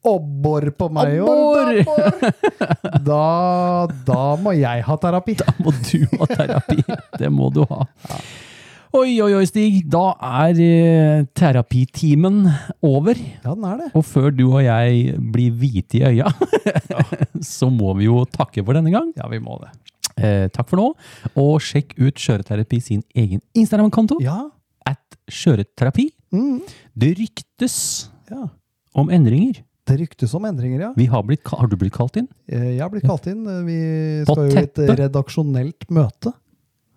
obbor på meg i år,
Abbor!
da, da må jeg ha terapi.
Da må du ha terapi. Det må du ha. Oi, oi, oi, Stig. Da er eh, terapitimen over.
Ja, den er det.
Og før du og jeg blir hvite i øya, så må vi jo takke for denne gang.
Ja, vi må det.
Eh, takk for nå. Og sjekk ut Skjøreterapi sin egen Instagram-konto.
Ja.
At Skjøreterapi.
Mm.
Det ryktes
ja.
om endringer.
Det ryktes om endringer, ja.
Vi har, blitt, ka- har du blitt kalt inn?
Eh, Jeg har blitt kalt inn. Eh, Vi
På
skal jo i et
teppet.
redaksjonelt møte.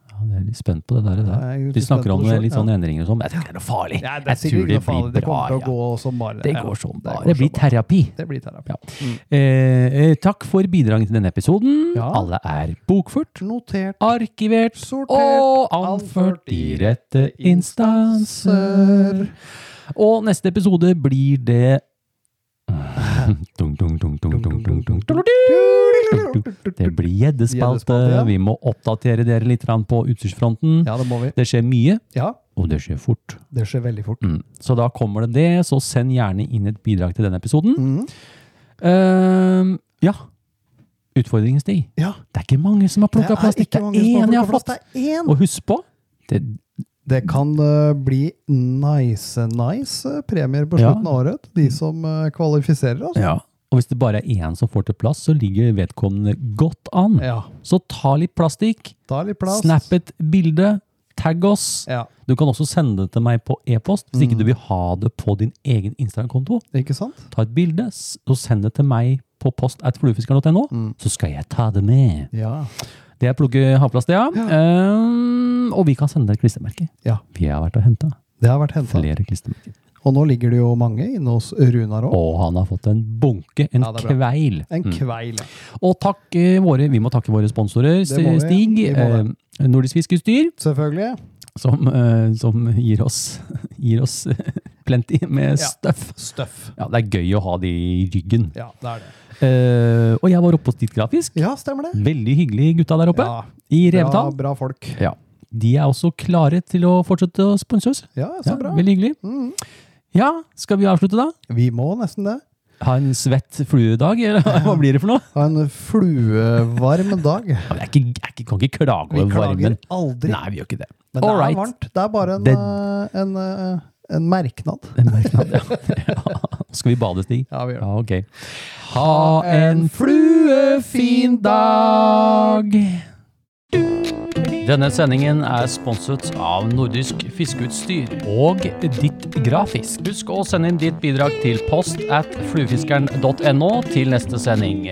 Ja, jeg er litt spent på det der. Det
Jeg
der.
er litt
De snakker
spent på
om
det selv,
litt
ja.
sånne endringer og sånn. Jeg tror ikke det er noe farlig. Jeg tror det blir
Det
bra.
kommer til
ja.
å gå som bare.
Det
Ja,
går som bare.
går
Det blir
som bare.
terapi.
Det blir terapi.
Ja. Eh, eh, takk for bidraget til denne episoden.
Ja.
Alle er bokført,
Notert.
arkivert
Sortert,
og anført i rette instanser. Og neste episode blir det Dung, dung, dung, dung, dung, dung, dung, dung. Det blir gjeddespalte.
Gjeddespalte, ja.
Vi må oppdatere dere litt grann på utstyrsfronten.
Ja, det må vi.
Det skjer mye,
Ja,
og det skjer fort.
det skjer veldig fort.
Mm. Så da kommer det det, så send gjerne inn et bidrag til denne episoden.
Mm.
Ehm, ja. Utfordringen, Stig.
Ja.
Det er ikke mange som har plukka plass. Det er
mange som har
én jeg har
plukket
fått.
plass. Det er én!
Og husk på det,
Det kan eh, bli nice-nice premier på
Ja.
slutten av året. De som eh, kvalifiserer oss.
ja. Og hvis det bare er én som får til plass, så ligger vedkommende godt an.
Ja.
Så ta litt plastikk,
Ta litt plass.
snap et bilde, tagg oss.
Ja,
Du
Mm.
kan også sende det til meg på e-post hvis ikke du vil ha det på din egen Instagram-konto.
ikke sant?
Ta et bilde s- og send det til meg på post at fluefiskeren.no,
Mm.
så skal jeg ta det med.
Ja.
Det er plukke havplast, ja. Ehm, og vi kan sende deg et klistremerke.
Ja.
Vi har vært og henta
Det har vært henta.
flere klistremerker.
Og nå ligger det jo mange inne hos Runar òg.
Og han har fått en bunke, en
Ja, det er bra.
kveil.
En
Mm.
kveil. ja.
Og takk, eh, våre, vi må takke våre sponsorer,
Det må vi.
Stig.
Vi må
eh, Nordisk Fiskeutstyr,
Selvfølgelig.
som, eh, som gir oss, gir oss plenty med støff.
Støff.
Ja, det er gøy å ha det i ryggen.
Ja, det er det.
Eh, og jeg var oppe hos Ditt Grafisk.
Ja, stemmer det.
Veldig hyggelige gutta der oppe,
Ja,
i
bra,
Revetal.
bra folk.
Ja. De er også klare til å fortsette å sponse oss.
Ja,
Ja,
så bra. Mm.
veldig hyggelig. Ja, skal vi avslutte da?
Vi må nesten det.
Ha en svett fluedag, eller hva blir det for noe?
Ha en fluevarm dag.
Ja, men Jeg er ikke, jeg er ikke- kan ikke klage
Vi
over
klager
varmen.
aldri.
Nei, vi gjør ikke det.
Men det
All right.
er varmt. Det er bare en,
Det-
eh, en, eh, en merknad.
En merknad, ja. Ja. Skal vi bade, Stig?
Ja, vi gjør det.
Ja, ok. Ha en fluefin dag!
Denne sendingen er sponset av Nordisk Fiskeutstyr.
Og ditt grafisk.
Husk å sende inn ditt bidrag til post at fluefiskeren.no til neste sending.